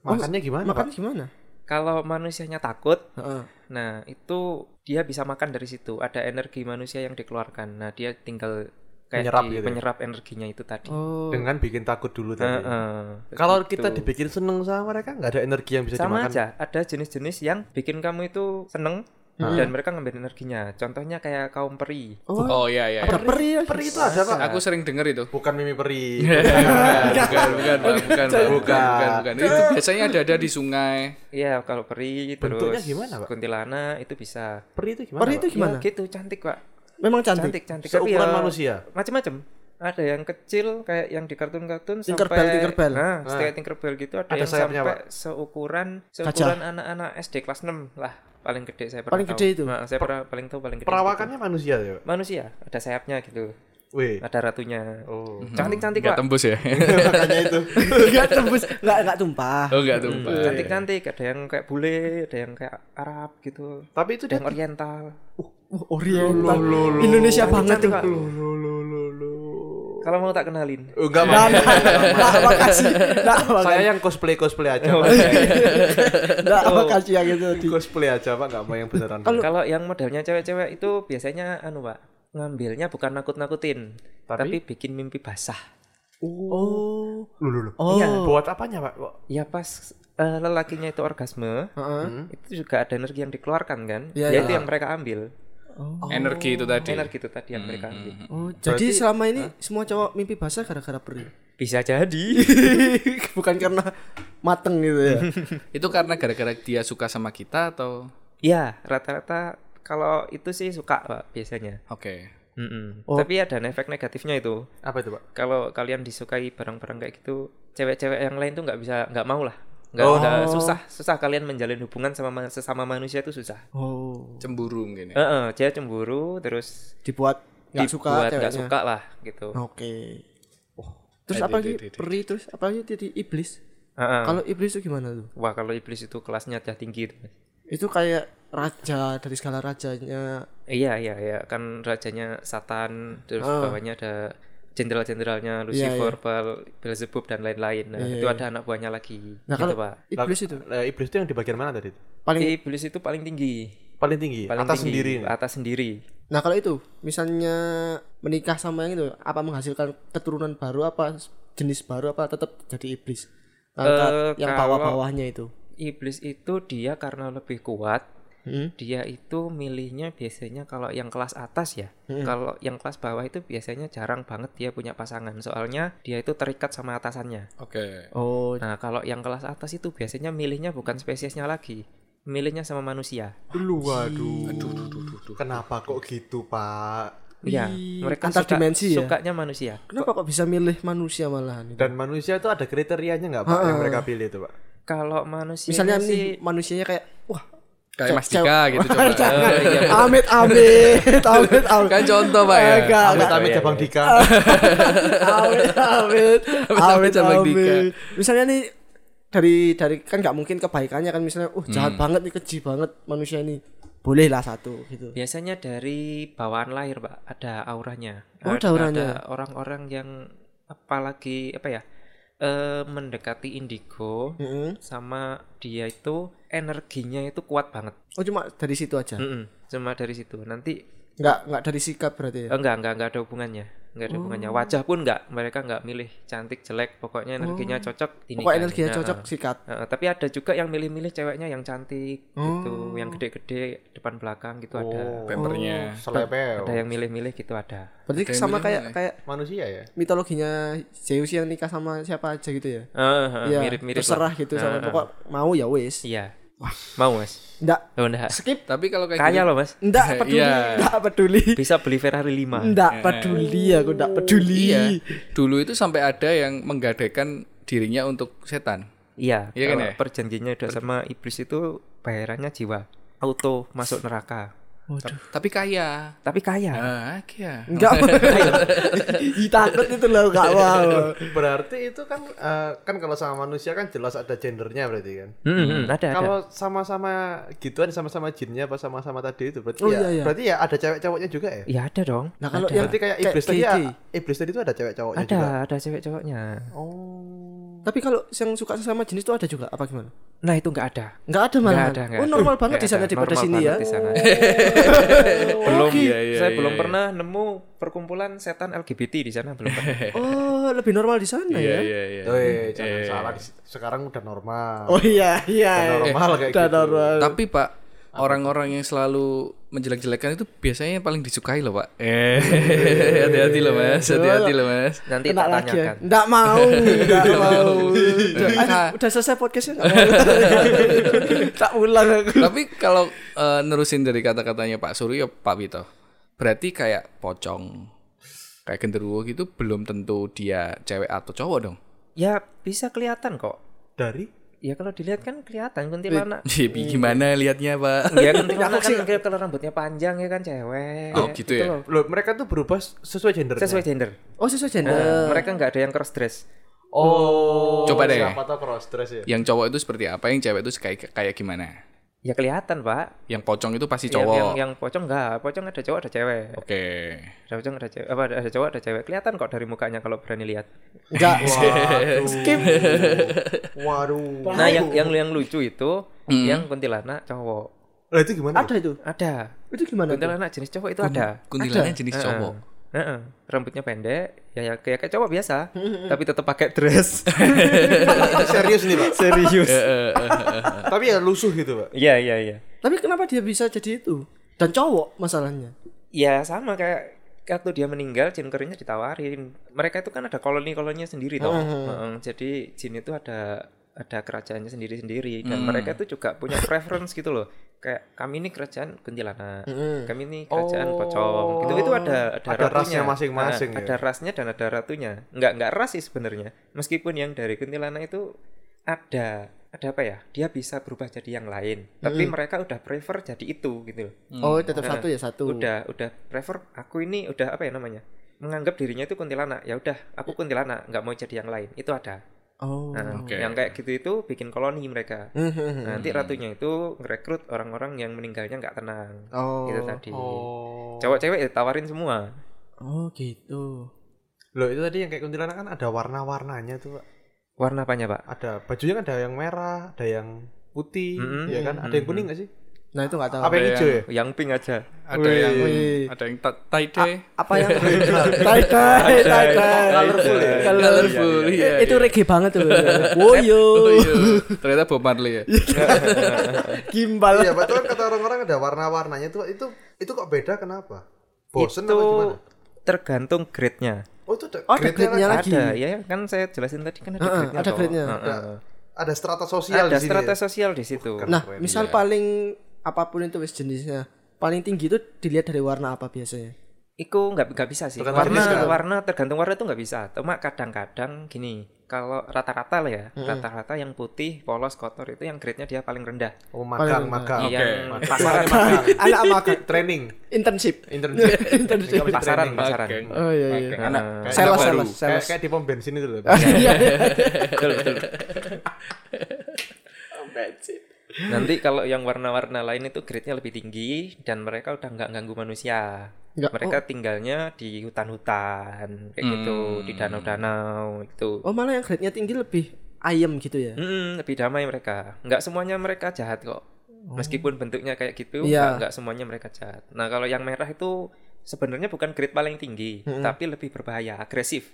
E: Oh,
D: Makannya gimana,
C: Makan
D: Pak?
C: gimana?
E: Kalau manusianya takut,
C: Heeh.
E: Nah, itu dia bisa makan dari situ. Ada energi manusia yang dikeluarkan. Nah, dia tinggal kayak
D: Menyerap
E: di-
D: gitu ya?
E: menyerap energinya itu tadi.
C: Oh.
D: Dengan bikin takut dulu tadi.
E: Heeh.
D: Kalau
E: Ah, Gitu.
D: kita dibikin seneng sama mereka, nggak ada energi yang bisa
E: sama
D: dimakan.
E: aja, ada jenis-jenis yang bikin kamu itu seneng
D: Hmm.
E: dan mereka ngambil energinya. Contohnya kayak kaum peri.
B: oh iya iya
C: Ada peri ya?
D: Peri itu ada, Pak.
B: aku sering denger itu
D: Bukan mimi
E: [LAUGHS]
D: peri.
B: bukan bukan Pak. bukan Pak. bukan bukan bukan itu biasanya ada ada di sungai
E: Iya, kalau peri
D: Bentuknya
E: terus
D: gimana, Pak?
E: kuntilanak itu bisa.
D: peri itu gimana?
C: Peri itu
D: Pak?
C: gimana?
E: Ya, gitu cantik, Pak.
C: Memang cantik.
E: Cantik, cantik. Tapi
D: seukuran
E: ya,
D: manusia.
E: Macam-macam. Ada yang kecil kayak yang di kartun-kartun
C: Tinkerbell,
E: sampai
C: Tinkerbell.
E: Nah, setiap Tinkerbell gitu ada,
D: Ada
E: yang
D: sayapnya,
E: sampai seukuran seukuran anak-anak SD kelas 6 lah paling gede saya pernah
C: Paling
E: tahu.
C: gede itu?
E: Nah, saya pernah paling tahu paling gede.
D: Perawakannya manusia ya, Pak.
E: segitu. manusia, ada sayapnya gitu.
D: Wih.
E: Ada ratunya.
D: Oh.
E: Cantik-cantik,
B: nggak
E: Pak.
B: tembus ya
D: Makanya itu.
C: Enggak tembus, enggak enggak tumpah.
B: oh nggak tembus
E: Cantik-cantik, ada yang kayak bule, ada yang kayak Arab gitu.
D: Tapi itu
E: Ada
D: dia
E: yang oriental.
C: Wah, Oriental. Indonesia banget
E: Cantik,
C: tuh.
E: Pak. Kalau mau tak kenalin.
D: Oh, enggak,
C: Nah,
D: Pak.
C: nah, nah, makasih. Nah, makasih.
D: [LAUGHS] Saya yang cosplay-cosplay aja, Pak.
E: [LAUGHS]
C: Nah, makasih yang itu tadi.
D: Cosplay aja, Pak, enggak mau yang beneran.
E: Kalau yang modelnya cewek-cewek itu biasanya anu, Pak, ngambilnya bukan nakut-nakutin, tapi, bikin mimpi basah.
C: Oh.
D: Loh, loh, loh.
C: Oh.
D: Iya. Buat apanya, Pak? Kok-
E: Ya pas eh, lelakinya itu orgasme, Hmm.
C: Heeh.
E: itu juga ada energi yang dikeluarkan kan?
C: Iya,
E: ya
C: iya.
E: itu yang mereka ambil.
B: Oh, energi itu tadi
E: Energi itu tadi yang mereka ambil.
C: Oh, jadi selama ini semua cowok mimpi basah gara-gara peri. [LAUGHS]
E: Bisa jadi.
C: Bukan karena mateng gitu ya.
B: itu karena gara-gara dia suka sama kita atau
E: ya, rata-rata kalau itu sih suka, Pak, biasanya.
B: oke
E: Mm-mm.
C: Oh.
E: Tapi ada efek negatifnya itu.
D: Apa itu, Pak?
E: Kalau kalian disukai barang-barang kayak gitu, cewek-cewek yang lain tuh nggak bisa nggak mau lah. nggak
C: Oh.
E: nggak susah susah kalian menjalin hubungan sama man- sesama manusia itu susah
C: [LAUGHS] Oh,
B: cemburu mungkin ya.
E: Eh, eh, dia cemburu terus
C: dibuat nggak suka Oh. Eh,
E: dibuat
C: ceweknya.
E: nggak suka lah gitu
C: Oke. Terus apa lagi peri terus apa lagi titi iblis?
E: Eh, eh.
C: Kalau iblis itu gimana tuh?
E: wah kalau iblis itu kelasnya udah tinggi gitu. itu.
C: Itu kayak raja dari skala rajanya.
E: iya iya iya kan rajanya satan terus
C: Ah.
E: bawahnya ada
C: Iya,
E: jenderal-jenderalnya Lucifer, Baal, Beelzebub dan lain-lain. Nah, itu ada anak buahnya lagi.
C: Nah,
E: gitu,
C: kalau
E: Pak.
C: iblis itu
D: Eh, iblis itu yang di bagian mana tadi?
C: paling
E: Iblis itu paling tinggi.
D: Paling tinggi,
E: Paling
D: atas
E: tinggi,
D: sendiri. nih.
E: Atas sendiri.
C: Nah, kalau itu misalnya menikah sama yang itu apa menghasilkan keturunan baru apa jenis baru apa tetap jadi iblis? Angkat yang bawah-bawahnya itu.
E: Iblis itu dia karena lebih kuat,
C: Hmm?
E: dia itu milihnya biasanya kalau yang kelas atas ya.
C: Hmm.
E: Kalau yang kelas bawah itu biasanya jarang banget dia punya pasangan. Soalnya dia itu terikat sama atasannya.
B: Oke.
C: Oh,
E: Nah, kalau yang kelas atas itu biasanya milihnya bukan spesiesnya lagi. Milihnya sama manusia.
D: Aduh, waduh. Kenapa kok gitu, Pak?
E: Iya, mereka
C: antar
E: suka,
C: dimensi ya?
E: sukanya manusia.
C: kenapa kok bisa milih manusia malahan? itu?
D: Dan manusia itu ada kriterianya nggak, Pak, yang mereka pilih itu, Pak?
E: Kalau manusia
C: Misalnya
E: Iya sih
C: nih manusianya kayak wah
B: Kayak
C: ce-
B: Mas Dika
C: cewek- [LAUGHS]
B: gitu coba.
C: Jangan. Amit amit amit amit.
B: Kan contoh, Pak, ya?
C: Eh, enggak,
D: Amit
C: enggak.
D: amit Abang Dika.
C: Amit
B: amit,
C: amit amit
B: Abang Dika.
C: amit. Misalnya nih dari dari kan nggak mungkin kebaikannya kan misalnya uh jahat banget nih keji banget manusia ini boleh lah satu gitu
E: biasanya dari bawaan lahir, Pak. Ada auranya.
C: Oh, ada auranya.
E: orang-orang yang apalagi apa ya? eh, mendekati indigo
C: Mm-mm.
E: sama dia itu energinya itu kuat banget.
C: oh cuma dari situ aja
E: Mm-mm. Cuma dari situ. Nanti
C: nggak nggak dari sikap berarti ya
E: eh, enggak enggak enggak ada hubungannya. Enggak ada hubungannya. Wajah pun enggak. Mereka enggak milih cantik jelek, pokoknya energinya cocok ini. kan.
C: pokoknya energinya cocok sikat
E: Heeh, tapi ada juga yang milih-milih ceweknya yang cantik gitu, yang gede-gede depan belakang gitu ada.
B: Oh.
D: Oh.
B: Pempernya.
D: Selepeo.
E: Ada yang milih-milih gitu ada.
C: berarti sama kayak kayak
D: Manusia ya?
C: mitologinya Zeus yang nikah sama siapa aja gitu ya
E: Heeh, heeh,
C: Iya,
E: Ah, mirip-mirip. lah.
C: terserah gitu sama pokok mau ya wes
E: Iya. Mau, Mas?
C: ndak
E: Oh, enggak.
C: skip
B: Tapi kalau kayak
E: Kaya
B: gini-
E: loh, Mas.
C: ndak peduli
B: Iya.
C: ndak peduli
E: Bisa beli Ferrari 5.
C: ndak peduli aku ndak peduli
B: Iya. Dulu itu sampai ada yang menggadaikan dirinya untuk setan.
E: Iya.
B: Iya kan
E: kalau
B: ya?
E: Perjanjiannya udah sama iblis itu bayarannya jiwa. Auto masuk neraka.
B: Tapi kaya.
E: Tapi kaya.
B: Ah, kaya.
E: [LAUGHS]
C: Enggak. Takut itu loh enggak mau.
D: Berarti itu kan eh, kan kalau sama manusia kan jelas ada gendernya berarti kan.
E: Hmm, hmm, ada ada.
D: Kalau sama-sama gituan sama-sama jinnya apa sama-sama tadi itu berarti
C: Oh,
D: ya
C: iya, iya.
D: berarti ya ada cewek cowoknya juga ya.
E: Iya ada dong.
C: Nah, kalau
E: Ada.
C: yang
D: Berarti kayak
C: Kayak
D: iblis tadi ya,
C: gay-gay.
D: iblis tadi itu ada cewek cowoknya
E: ada,
D: juga.
E: ada cewek cowoknya.
C: Tapi kalau yang suka sesama jenis itu ada juga apa gimana?
E: Nah, itu enggak ada.
C: Enggak ada malah.
E: Nggak ada, nggak
C: Oh,
E: ada.
C: normal banget di
E: Nggak
C: sana
E: ada,
C: daripada
E: normal
C: sini ya.
E: banget di sana. belum iya.
B: Iya,
E: saya belum pernah nemu perkumpulan setan LGBT di sana belum pernah.
C: Oh, lebih normal di sana
B: Iya,
C: ya.
B: iya, iya.
D: Eh, jangan salah Dis- sekarang udah normal.
C: Oh iya,
D: Udah
C: iya.
D: normal kayak
C: Udah
D: gitu.
C: normal.
B: Tapi Pak, orang-orang yang selalu menjelek-jelekan itu biasanya yang paling disukai loh Pak. Eh, [LAUGHS] hati-hati loh Mas, hati-hati loh Mas.
E: Nanti
C: Kena
E: tak
C: lagi ya.
E: tanyakan.
C: Enggak mau,
E: [LAUGHS]
C: enggak mau.
B: Nah,
C: Udah, udah selesai podcastnya enggak mau. [LAUGHS] tak ulang aku.
B: Tapi kalau eh, nerusin dari kata-katanya Pak Suryo, Pak Wito, berarti kayak pocong, kayak genderuwo gitu belum tentu dia cewek atau cowok dong. [LAUGHS]
E: Ya bisa kelihatan kok.
D: Dari
E: Ya kalau dilihat kan kelihatan kuntilanak.
B: Jadi gimana liatnya
C: Iya.
B: Pak?
E: [LAUGHS] ya kuntilanak kan kayak kalau rambutnya panjang ya kan cewek.
B: [LAUGHS] Oh, gitu ya?
E: loh.
D: Loh, mereka tuh berubah sesuai gendernya.
E: Sesuai gender.
C: Oh, sesuai
E: Nah,
C: gender.
E: mereka nggak ada yang cross dress.
D: Oh.
B: Coba deh.
D: Siapa tau cross dress ya?
B: Yang cowok itu seperti apa, yang cewek itu kayak kayak gimana?
E: Ya kelihatan, Pak. Ya,
B: Yang pocong itu pasti
E: Iya, Yang, yang,
B: cowok.
E: yang pocong nggak, pocong ada cowok ada cewek.
B: Oke.
E: Ada pocong ada cewek, apa ada cowok ada cewek. Kelihatan kok dari mukanya kalau berani lihat.
C: Enggak.
D: Waduh.
C: Skip.
D: Waduh.
E: Nah, yang yang yang lucu itu yang kuntilanak cowok.
D: Lah itu gimana?
C: Ada itu.
E: Ada.
C: Itu gimana? tuh?
E: Kuntilanak jenis cowok itu ada.
B: Kuntilanak jenis
E: Heeh.
B: cowok.
E: Heeh. Rambutnya pendek, ya, ya kayak kayak cowok biasa, tapi tetap pakai dress.
D: Serius nih, Pak.
E: Serius.
D: Tapi ya lusuh gitu, Pak.
E: Iya, iya, iya.
C: Tapi kenapa dia bisa jadi itu? Dan cowok masalahnya.
E: Ya sama kayak waktu dia meninggal jin keringnya ditawarin. Mereka itu kan ada koloni-koloninya sendiri toh. Heeh, Jadi jin itu ada ada kerajaannya sendiri-sendiri
D: Hmm.
E: dan mereka itu juga punya preference gitu loh. Kayak kami ini kerajaan kuntilanak, kami ini kerajaan pocong. Itu itu ada ada,
D: Hmm. Oh. Ada rasnya
E: ratunya.
D: masing-masing
E: Nah,
D: ya.
E: Ada rasnya dan ada ratunya. Enggak enggak ras sih sebenarnya. Meskipun yang dari kuntilanak itu ada ada apa ya? Dia bisa berubah jadi yang lain. Tapi
D: Hmm.
E: mereka udah prefer jadi itu gitu loh.
C: Oh, tetap satu ya satu.
E: Udah udah prefer aku ini udah apa ya namanya? Menganggap dirinya itu kuntilanak. Ya udah, aku kuntilanak, nggak mau jadi yang lain. Itu ada.
C: Oh.
E: Nah,
B: Oke.
E: Yang kayak gitu itu bikin koloni mereka.
C: Mhm.
E: Nanti ratunya itu ngerekrut orang-orang yang meninggalnya nggak tenang.
C: [LAUGHS] Oh.
E: Gitu tadi.
D: Oh.
E: Cowok-cewek ya ditawarin semua.
C: Oh, gitu.
D: Loh itu tadi yang kayak kuntilanak kan ada warna-warnanya tuh Pak.
E: Warna apanya, Pak?
D: Ada bajunya kan ada yang merah, ada yang putih,
E: Mm-mm.
D: ya kan? Ada yang kuning gak sih?
C: Nah, itu nggak tahu.
D: Apa yang
B: Ada
D: hijau ya?
E: Yang pink aja.
B: Ada yang
C: Wih.
B: ada yang ta- tie dye.
C: Apa yang Iya, Tai tai tai tai.
B: Colorful ya? Colorful, iya,
C: Eh, Itu
B: iya.
C: reggae banget tuh. Woyo.
B: Oh, iya. Ternyata Bob Marley ya.
C: Gimbal.
D: Iya, Pak. Cuman kata orang-orang ada warna-warnanya tuh Pak. itu itu kok beda kenapa? Bosen
E: itu
D: apa gimana?
E: tergantung grade-nya.
D: Oh, itu ada
C: Oh, ada
D: grade-nya
C: grade-nya
D: lagi.
C: lagi.
E: Ada ya kan saya jelasin tadi kan ada
C: Heeh,
E: grade-nya.
C: ada
E: toh.
C: grade-nya.
E: Heeh.
D: Ada, ada strata sosial
E: Ada
D: di sini.
E: strata
D: ya?
E: sosial di situ.
C: Nah, misal paling apapun itu wis jenisnya, paling tinggi itu dilihat dari warna apa biasanya?
E: Iku nggak nggak bisa sih.
D: Tergantung
E: warna
D: jenis kan?
E: warna tergantung warna tuh nggak bisa. Cuma kadang-kadang gini, kalau rata-rata lah ya, rata-rata yang pih, putih, polos, kotor itu yang grade-nya dia paling rendah. Iya,
D: Oh, magang, magang.
E: Yang
B: Oke.
E: pasaran,
C: Anak makan
D: Training,
C: internship.
D: internship.
C: Internship.
D: Mereka
E: pasaran,
D: training.
E: pasaran.
B: Oke.
C: Oh iya iya.
B: Oke, Anak
E: Nah,
C: Sales
B: baru.
C: sales
D: Kayak
C: sales.
D: kayak di pom bensin itu loh.
C: Iya.
E: Betul, betul. Nanti kalau yang warna-warna lain itu grade-nya lebih tinggi dan mereka udah nggak ganggu manusia.
C: Nggak,
E: mereka tinggalnya di hutan-hutan kayak gitu, di danau-danau gitu.
C: [LAUGHS]
E: itu.
C: Oh, malah yang grade-nya tinggi lebih ayam gitu ya.
E: Mm-mm, lebih damai mereka. Nggak semuanya mereka jahat kok.
B: Oh.
E: Meskipun bentuknya kayak gitu,
C: Iya.
E: nggak- nggak semuanya mereka jahat. Nah kalau yang merah itu sebenarnya bukan grade paling tinggi, tapi lebih berbahaya, agresif.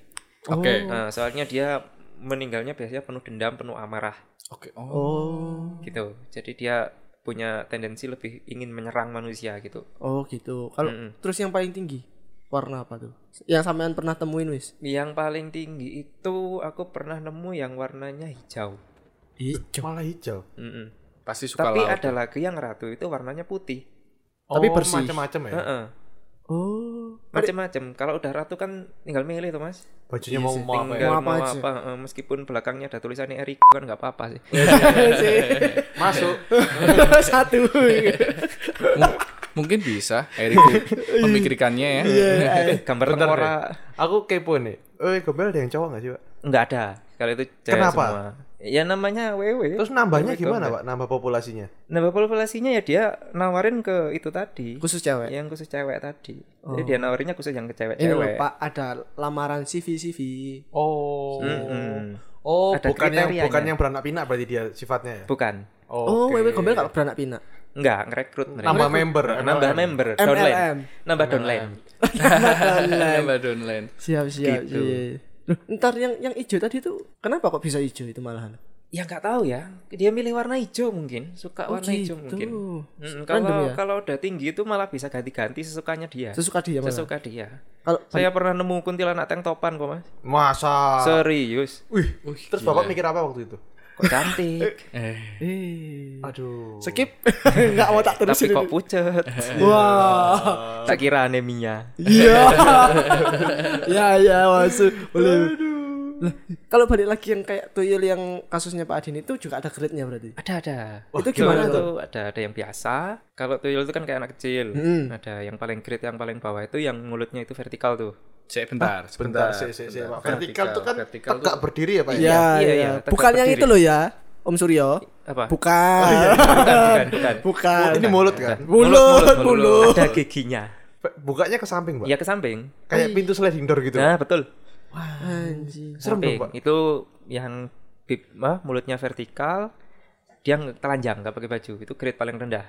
B: Oke.
C: Mm.
E: Nah, soalnya dia meninggalnya biasanya penuh dendam, penuh amarah
B: Oke. Oh.
C: Oh.
E: gitu. Jadi dia punya tendensi lebih ingin menyerang manusia gitu.
C: Oh gitu. Kalau
E: Mm-mm.
C: terus yang paling tinggi warna apa tuh? Yang sampean pernah temuin
E: [LAUGHS]
C: wis?
E: Yang paling tinggi itu aku pernah nemu yang warnanya hijau.
C: Hijau.
D: Malah hijau.
E: Mm-mm.
B: Pasti suka
E: Tapi
B: laut.
E: ada lagi yang ratu itu warnanya putih.
C: Tapi
D: Oh,
C: bersih.
D: Macam-macam ya.
E: Heeh.
C: Oh.
E: Macem-macem. Kalau udah ratu kan tinggal milih tuh mas.
D: Bajunya mau mau apa ya?
E: Tinggal
C: Mau apa
E: mau
C: aja.
E: apa. eh, meskipun belakangnya ada tulisannya Erik kan nggak apa-apa sih.
C: Iya,
D: Masuk.
C: [LAUGHS] Satu.
B: Mung- Mungkin bisa Eriku memikirkannya ya.
E: Iya.
C: iya,
E: [LAUGHS] Gambar
D: Bentar
E: tengkorak
D: deh. Aku kepo nih. Eh, gombel ada yang cowok gak sih, Pak?
E: nggak ada. Kalau itu cewek
D: Kenapa?
E: semua. Ya namanya WW.
D: Terus nambahnya
E: Cewek
D: gimana,
E: gombel.
D: Pak? Nambah populasinya.
E: Nambah populasinya ya dia nawarin ke itu tadi.
C: Khusus cewek. Oh. Eh,
E: Yang khusus cewek tadi. Jadi dia nawarinnya khusus yang ke
C: Ini loh
E: cewek-cewek.
C: Pak ada lamaran CV CV.
D: Oh.
E: Mm-mm.
D: Oh,
E: Ada
D: bukan yang
E: kriterianya.
D: bukan yang beranak pinak berarti dia sifatnya ya.
E: Bukan.
C: Oh,
D: Oke.
C: wewe gombel kalau beranak pinak.
E: Nggak ngerekrut mereka.
D: Nambah member,
E: Nambah
D: MLM.
E: member.
C: MLM.
E: Downline. Nambah downline.
B: Nambah downline.
C: Siap siap.
E: Gitu.
C: iya. Loh, ntar yang yang hijau tadi tuh kenapa kok bisa hijau itu malahan?
E: ya nggak tahu ya dia milih warna hijau mungkin suka warna hijau
C: gitu.
E: mungkin
C: Random
E: Mm, kalau
C: ya?
E: kalau udah tinggi itu malah bisa ganti-ganti sesukanya dia
C: Sesuka dia malah.
E: sesuka dia
C: Kalau
E: saya pernah nemu kuntilanak tank topan kok mas
C: Ah.
D: Masa.
E: serius
D: Wih. Terus Bapak mikir apa waktu itu?
E: kok cantik
B: Eh,
C: eh
D: Aduh.
C: [LAUGHS] skip [LAUGHS] nggak mau tak
E: tapi
C: terusin.
E: kok pucet
C: Wah.
E: tak kira anemia
C: [LAUGHS] Iya. ya ya masuk. Boleh. Lah, kalau balik lagi yang kayak tuyul yang kasusnya Pak Adin itu juga ada grade-nya berarti.
E: ada ada
C: itu gimana
E: Tuyul
C: tuh?
E: itu ada ada yang biasa kalau tuyul itu kan kayak anak kecil
C: Hmm.
E: ada yang paling grade yang paling bawah itu yang mulutnya itu vertikal tuh
B: cek bentar, sebentar.
D: Bentar, si, si, si,
B: bentar.
D: Pak. Vertikal tuh kan
B: vertikal tuh-
D: tegak berdiri ya, Pak? ya?
C: Iya,
E: iya,
C: iya.
E: iya, tegak
C: Bukan yang
E: berdiri.
C: itu loh ya, Om Suryo.
E: apa
C: Bukan.
E: bukan bukan
C: Bukan.
D: Ini mulut kan?
C: Mulut, mulut.
E: ada giginya
D: Bukanya ke samping, Pak.
E: ya ke samping
D: Kayak pintu sliding door gitu.
E: nah betul
C: Anjing.
D: Serem dong,
E: Samping.
D: Pak.
E: Itu yang bib- ah, mulutnya vertikal, dia nge- telanjang nggak pakai baju. Itu grade paling rendah.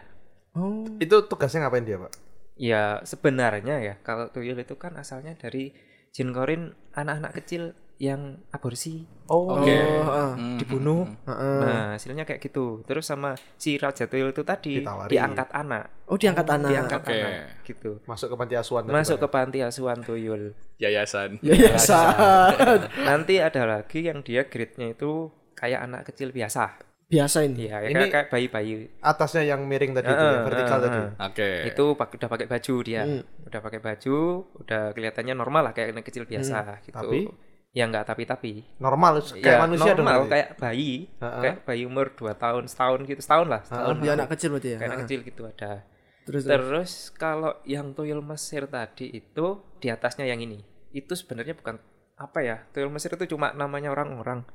C: Oh.
D: Itu tugasnya ngapain dia, Pak?
E: Ya sebenarnya ya kalau tuyul itu kan asalnya dari jin korin anak-anak kecil yang aborsi
D: Oh.
B: Oke.
C: ah.
B: Hmm.
E: dibunuh.
C: Heeh.
E: Nah hasilnya kayak gitu. Terus sama si raja tuyul itu tadi
D: Ditawari.
E: diangkat anak,
C: Oh, diangkat anak.
E: diangkat
B: Oke.
E: anak gitu.
D: Masuk ke panti asuhan. tadi,
E: Masuk
D: Pak. ya?
E: ke panti asuhan tuyul.
B: Yayasan.
C: Ya, ya, San.
E: Nanti ada lagi yang dia grade-nya itu kayak anak kecil biasa.
C: Biasa ini.
E: Iya,
D: Ini-
E: kayak kayak bayi-bayi
D: atasnya yang miring tadi, itu
E: Heeh,
D: ya, vertikal
E: heeh,
D: tadi.
E: heeh.
B: Oke.
E: itu pak- udah pakai
D: Hmm.
E: baju dia udah pakai baju udah kelihatannya normal lah kayak anak kecil biasa gitu
D: Hmm. Tapi?
E: ya nggak tapi-tapi
D: normal kayak
E: ya,
D: manusia dong
E: normal,
D: berarti.
E: kayak bayi
D: Ha-ha.
E: kayak bayi umur 2 tahun setahun gitu setahun lah setahun
C: ya anak kecil berarti ya
E: kayak anak
C: Ha,
E: kecil gitu ada
C: terus terus.
E: terus kalau yang tuyul Mesir tadi itu di atasnya yang ini itu sebenarnya bukan apa ya tuyul Mesir itu cuma namanya orang-orang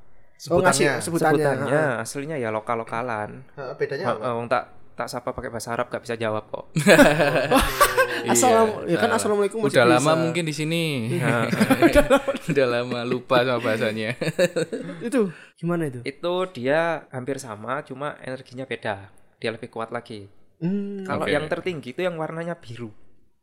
C: oh
D: sebutannya.
C: ngasih sebutannya, Ah.
E: sebutannya
C: ha, ha.
E: aslinya ya lokal lokalan
D: Heeh, bedanya apa?
E: Wong tak tak sapa pakai bahasa Arab gak bisa jawab kok
C: Assalam- ya kan assalamualaikum masih
B: Iya. Ah. udah lama
C: bisa.
B: mungkin di sini [LAUGHS] udah lama lupa sama bahasanya
C: itu gimana itu
E: itu dia hampir sama cuma energinya beda dia lebih kuat lagi
C: Hmm,
E: kalau
B: Oke.
E: yang tertinggi itu yang warnanya biru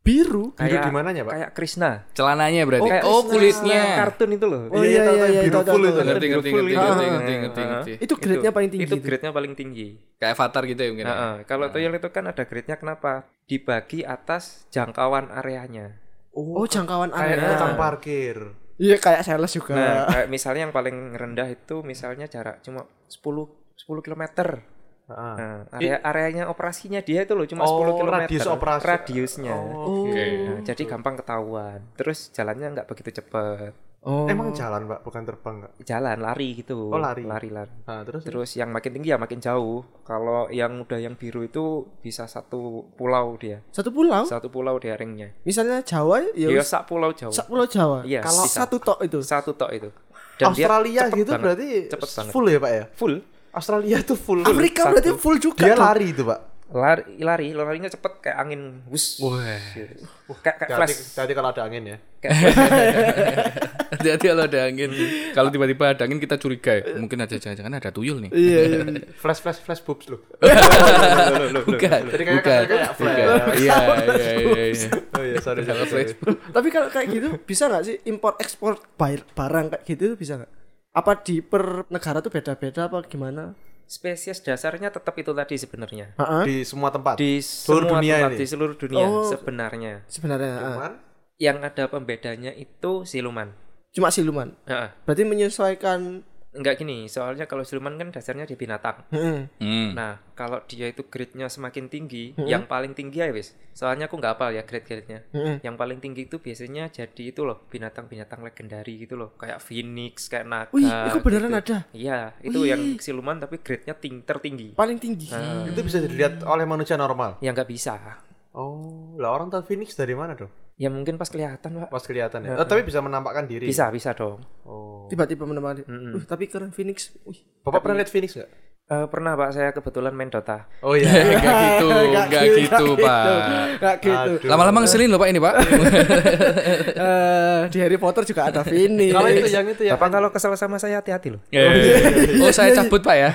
C: biru
D: Biru
E: kayak
D: dimananya, Pak?
E: kayak Krishna
B: celananya berarti
E: Kayak
B: oh,
E: Krishna
B: kulitnya
E: kartun itu loh
C: oh iya
D: tahu,
C: iya
D: tahu,
C: iya
D: biru
C: tahu, tahu,
D: full
C: tahu,
D: itu.
C: tahu.
B: ngerti ngerti ngerti ngerti ngerti ngerti ngerti
C: itu grade-nya paling iya, tinggi
E: itu
C: itu.
E: grade-nya paling tinggi
B: kayak avatar gitu ya mungkin [LAUGHS] ya?
E: Heeh, kalau tuyul itu kan ada grade-nya kenapa dibagi atas jangkauan areanya
C: oh jangkauan
D: Kayak
C: area
D: tukang parkir.
C: iya kayak sales juga
E: nah kayak misalnya yang paling rendah itu misalnya jarak cuma 10 10 kilometer
D: Heeh.
E: Nah, area areanya operasinya dia itu loh cuma
D: Oh,
E: 10 km
D: radius operasi.
E: radiusnya.
D: Oh,
B: oke
E: Nah, jadi gampang ketahuan. Terus jalannya nggak begitu cepet.
C: oh
D: Emang jalan, Pak, bukan terbang enggak?
E: Jalan lari gitu.
D: Oh, lari.
E: Lari lari.
D: Nah, terus
E: Terus yang makin tinggi ya makin jauh. Kalau yang udah yang biru itu bisa satu pulau dia.
C: satu pulau
E: Satu pulau dia ringnya.
C: misalnya Jawa ya
E: Dia sak pulau jauh.
C: sak pulau Jawa
E: Iya,
C: kalau
E: bisa.
C: satu tok itu
E: Satu tok itu. dia
D: Australia
E: cepet
D: gitu
E: banget.
D: berarti
E: cepet banget.
D: full ya, Pak ya?
E: Full.
D: Australia tuh full.
C: Afrika
E: Satu.
C: berarti full juga
D: Dia
C: dong.
D: lari itu, Pak.
E: Lari lari larinya cepet kayak angin. Wus. Gitu. Kayak kayak
D: Jadi,
E: flash.
D: jadi kalau ada angin ya.
E: Kayak flash.
B: jadi kalau ada angin kalau tiba-tiba ada angin kita curiga ya mungkin ada jangan-jangan ada tuyul nih
C: iya
B: [LAUGHS]
C: iya.
D: Flash flash flash boobs [LAUGHS] lu.
B: bukan
D: Jadi kayak-
B: bukan
D: kayak- kayak
B: bukan iya iya iya iya.
D: Oh iya, sorry sorry. sorry.
C: tapi kalau kayak gitu bisa nggak sih impor ekspor bar- barang kayak gitu tuh bisa nggak apa di per negara tuh beda-beda apa gimana
E: Spesies dasarnya tetap itu tadi sebenarnya.
C: Ha-ha.
D: Di semua tempat.
E: di
D: Seluruh
E: semua
D: dunia
E: tempat
D: ini?
E: di seluruh dunia
C: Oh.
E: sebenarnya
C: sebenarnya ha.
D: Cuman
E: yang ada pembedanya itu siluman
C: cuma siluman
E: Heeh.
C: berarti menyesuaikan
E: enggak gini soalnya kalau siluman kan dasarnya di binatang
C: Heeh.
B: Hmm.
E: nah kalau dia itu grade-nya semakin tinggi
C: Hmm.
E: yang paling tinggi ya wis soalnya aku nggak hafal ya grade-grade-nya
C: Mm-mm.
E: yang paling tinggi itu biasanya jadi itu loh binatang-binatang legendari gitu loh kayak phoenix kayak naga
C: Wih, itu beneran
E: gitu.
C: ada?
E: iya itu yang siluman tapi grade-nya ting tertinggi
C: paling tinggi
E: Nah.
D: itu bisa dilihat oleh manusia normal.
E: yang nggak bisa
D: Oh, lah orang tahu Phoenix dari mana dong?
E: ya mungkin pas kelihatan pak
D: Pas kelihatan ya. Oh, tapi bisa menampakkan diri.
E: bisa bisa dong
D: Oh.
C: tiba-tiba menemukan Wih, tapi keren Phoenix Wih.
D: Bapak pernah lihat Phoenix nggak?
E: Eh, pernah pak saya kebetulan main Dota
D: Oh iya. [LAUGHS]
B: Enggak gitu,
C: Nggak
B: enggak
C: gitu,
B: gitu,
C: nggak gitu.
B: Pak.
C: Nggak gitu
D: Aduh.
B: Lama-lama ngeselin loh Pak ini, Pak.
C: Eh, di Harry Potter juga ada Phoenix
D: Kalau itu yang itu ya.
E: Bapak kalau kesel sama saya hati-hati
B: [LAUGHS]
E: loh.
B: Oh, saya cabut, Pak ya.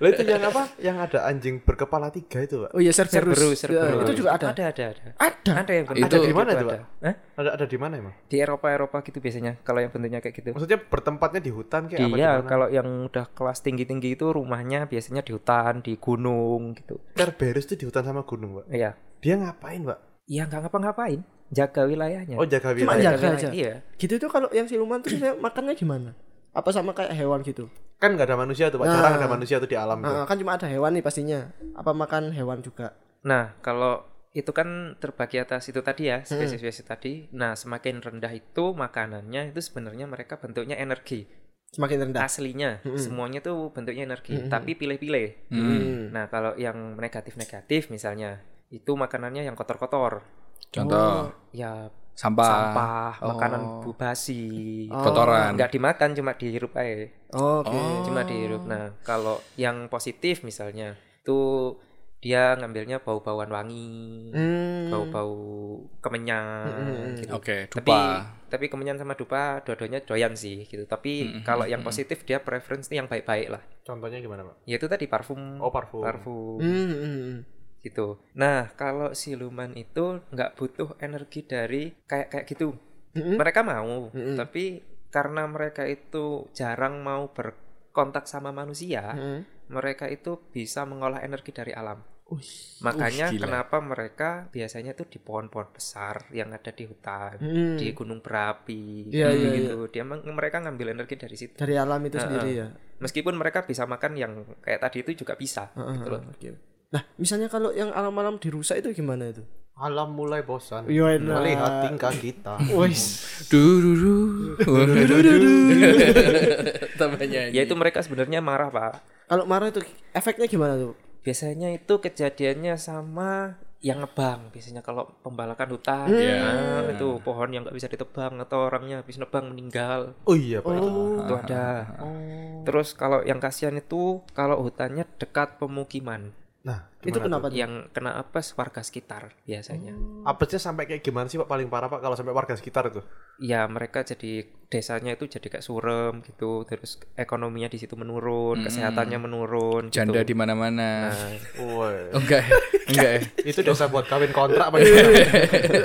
D: Lah itu yang apa? Yang ada anjing berkepala tiga itu, Pak.
C: oh iya Cerberus,
E: Cerberus, Cerberus.
C: Ya, itu juga ada
E: Ada, ada, ada.
C: ada
E: Ada yang
B: Itu-
D: Ada di mana
E: gitu
D: itu,
E: ada.
D: Pak?
E: Hah?
D: Ada ada di mana emang?
E: Di Eropa Eropa gitu biasanya kalau yang bentuknya kayak gitu.
D: Maksudnya bertempatnya di hutan kayak apa? di
E: Iya,
D: mana?
E: kalau yang udah kelas tinggi-tinggi itu rumahnya biasanya di hutan, di gunung gitu.
D: Cerberus itu di hutan sama gunung, Pak.
E: Iya.
D: Dia ngapain, Pak?
E: Ya nggak ngapa-ngapain, jaga wilayahnya.
D: Oh, jaga
C: cuma
D: wilayah.
C: jaga aja
E: Iya.
C: gitu tuh kalau yang siluman tuh saya makannya gimana apa sama kayak hewan gitu
D: Kan nggak ada manusia tuh, Pak. Jarang ada manusia tuh di alam tuh.
C: Nah, kan cuma ada hewan nih pastinya. Apa makan hewan juga?
E: Nah, kalau itu kan terbagi atas itu tadi
D: Hmm.
E: ya, spesies-spesies tadi. Nah, semakin rendah itu makanannya itu sebenarnya mereka bentuknya energi.
C: Semakin rendah.
B: Nah.
E: Aslinya semuanya tuh bentuknya energi, tapi pilih-pilih.
C: Hmm.
E: Nah, kalau yang negatif-negatif misalnya, itu makanannya yang kotor-kotor.
B: Contoh
E: Ya
B: sampah.
E: sampah,
B: Oh.
E: makanan bubasi,
B: Kotoran. Oh.
E: Nggak dimakan cuma dihirup aja.
C: Oh, Oke.
E: Cuma dihirup. Nah, kalau yang positif misalnya, itu dia ngambilnya bau-bauan wangi,
B: Mm.
C: Hmm.
E: bau-bau kemenyan gitu.
B: Oke,
E: Tapi
B: dupa.
E: tapi kemenyan sama dupa dua-duanya doyan sih gitu. Tapi kalau yang positif dia preference nih yang baik-baik lah.
D: Contohnya gimana, Pak?
E: Yaitu Ya, tadi parfum.
D: Oh, parfum.
E: Parfum.
C: Hmm, hmm, hmm.
E: gitu. Nah, kalau siluman itu nggak butuh energi dari kayak kayak gitu.
C: Hmm,
E: Mereka mau, tapi karena mereka itu jarang mau berkontak sama manusia,
C: Hmm.
E: mereka itu bisa mengolah energi dari alam.
C: Wih.
E: Makanya
B: gila.
E: kenapa mereka biasanya tuh di pohon-pohon besar yang ada di hutan,
C: Hmm.
E: di gunung berapi,
C: Iya, iya,
E: gitu. Dia meng- mereka ngambil energi dari situ.
C: Dari alam itu sendiri ya.
E: Meskipun mereka bisa makan yang kayak tadi itu juga bisa. gitu loh.
C: Nah, misalnya kalau yang alam-alam dirusak itu gimana itu?
D: Alam mulai bosan
C: Yo, enak.
D: melihat tingkah kita.
C: Wis.
B: Dururu. Tambah nyanyi.
E: ya itu mereka sebenarnya marah pak
C: Kalau marah itu efeknya gimana tuh?
E: biasanya itu kejadiannya sama yang nebang biasanya kalau pembalakan hutan Nah, itu pohon yang nggak bisa ditebang atau orangnya habis nebang meninggal
D: Oh iya pak. itu.
E: itu ada
C: Oh.
E: terus kalau yang kasihan itu kalau hutannya dekat pemukiman
D: Nah
C: itu kenapa tuh?
E: yang kena apes warga sekitar biasanya
C: Oh.
D: apesnya sampai kayak gimana sih pak paling parah pak kalau sampai warga sekitar itu?
E: ya mereka jadi desanya itu jadi kayak surem gitu terus ekonominya di situ menurun kesehatannya menurun gitu.
B: Janda di mana-mana.
D: Woi.
B: Oh, enggak ya? Enggak ya?
D: itu desa buat kawin kontrak pak. Iya.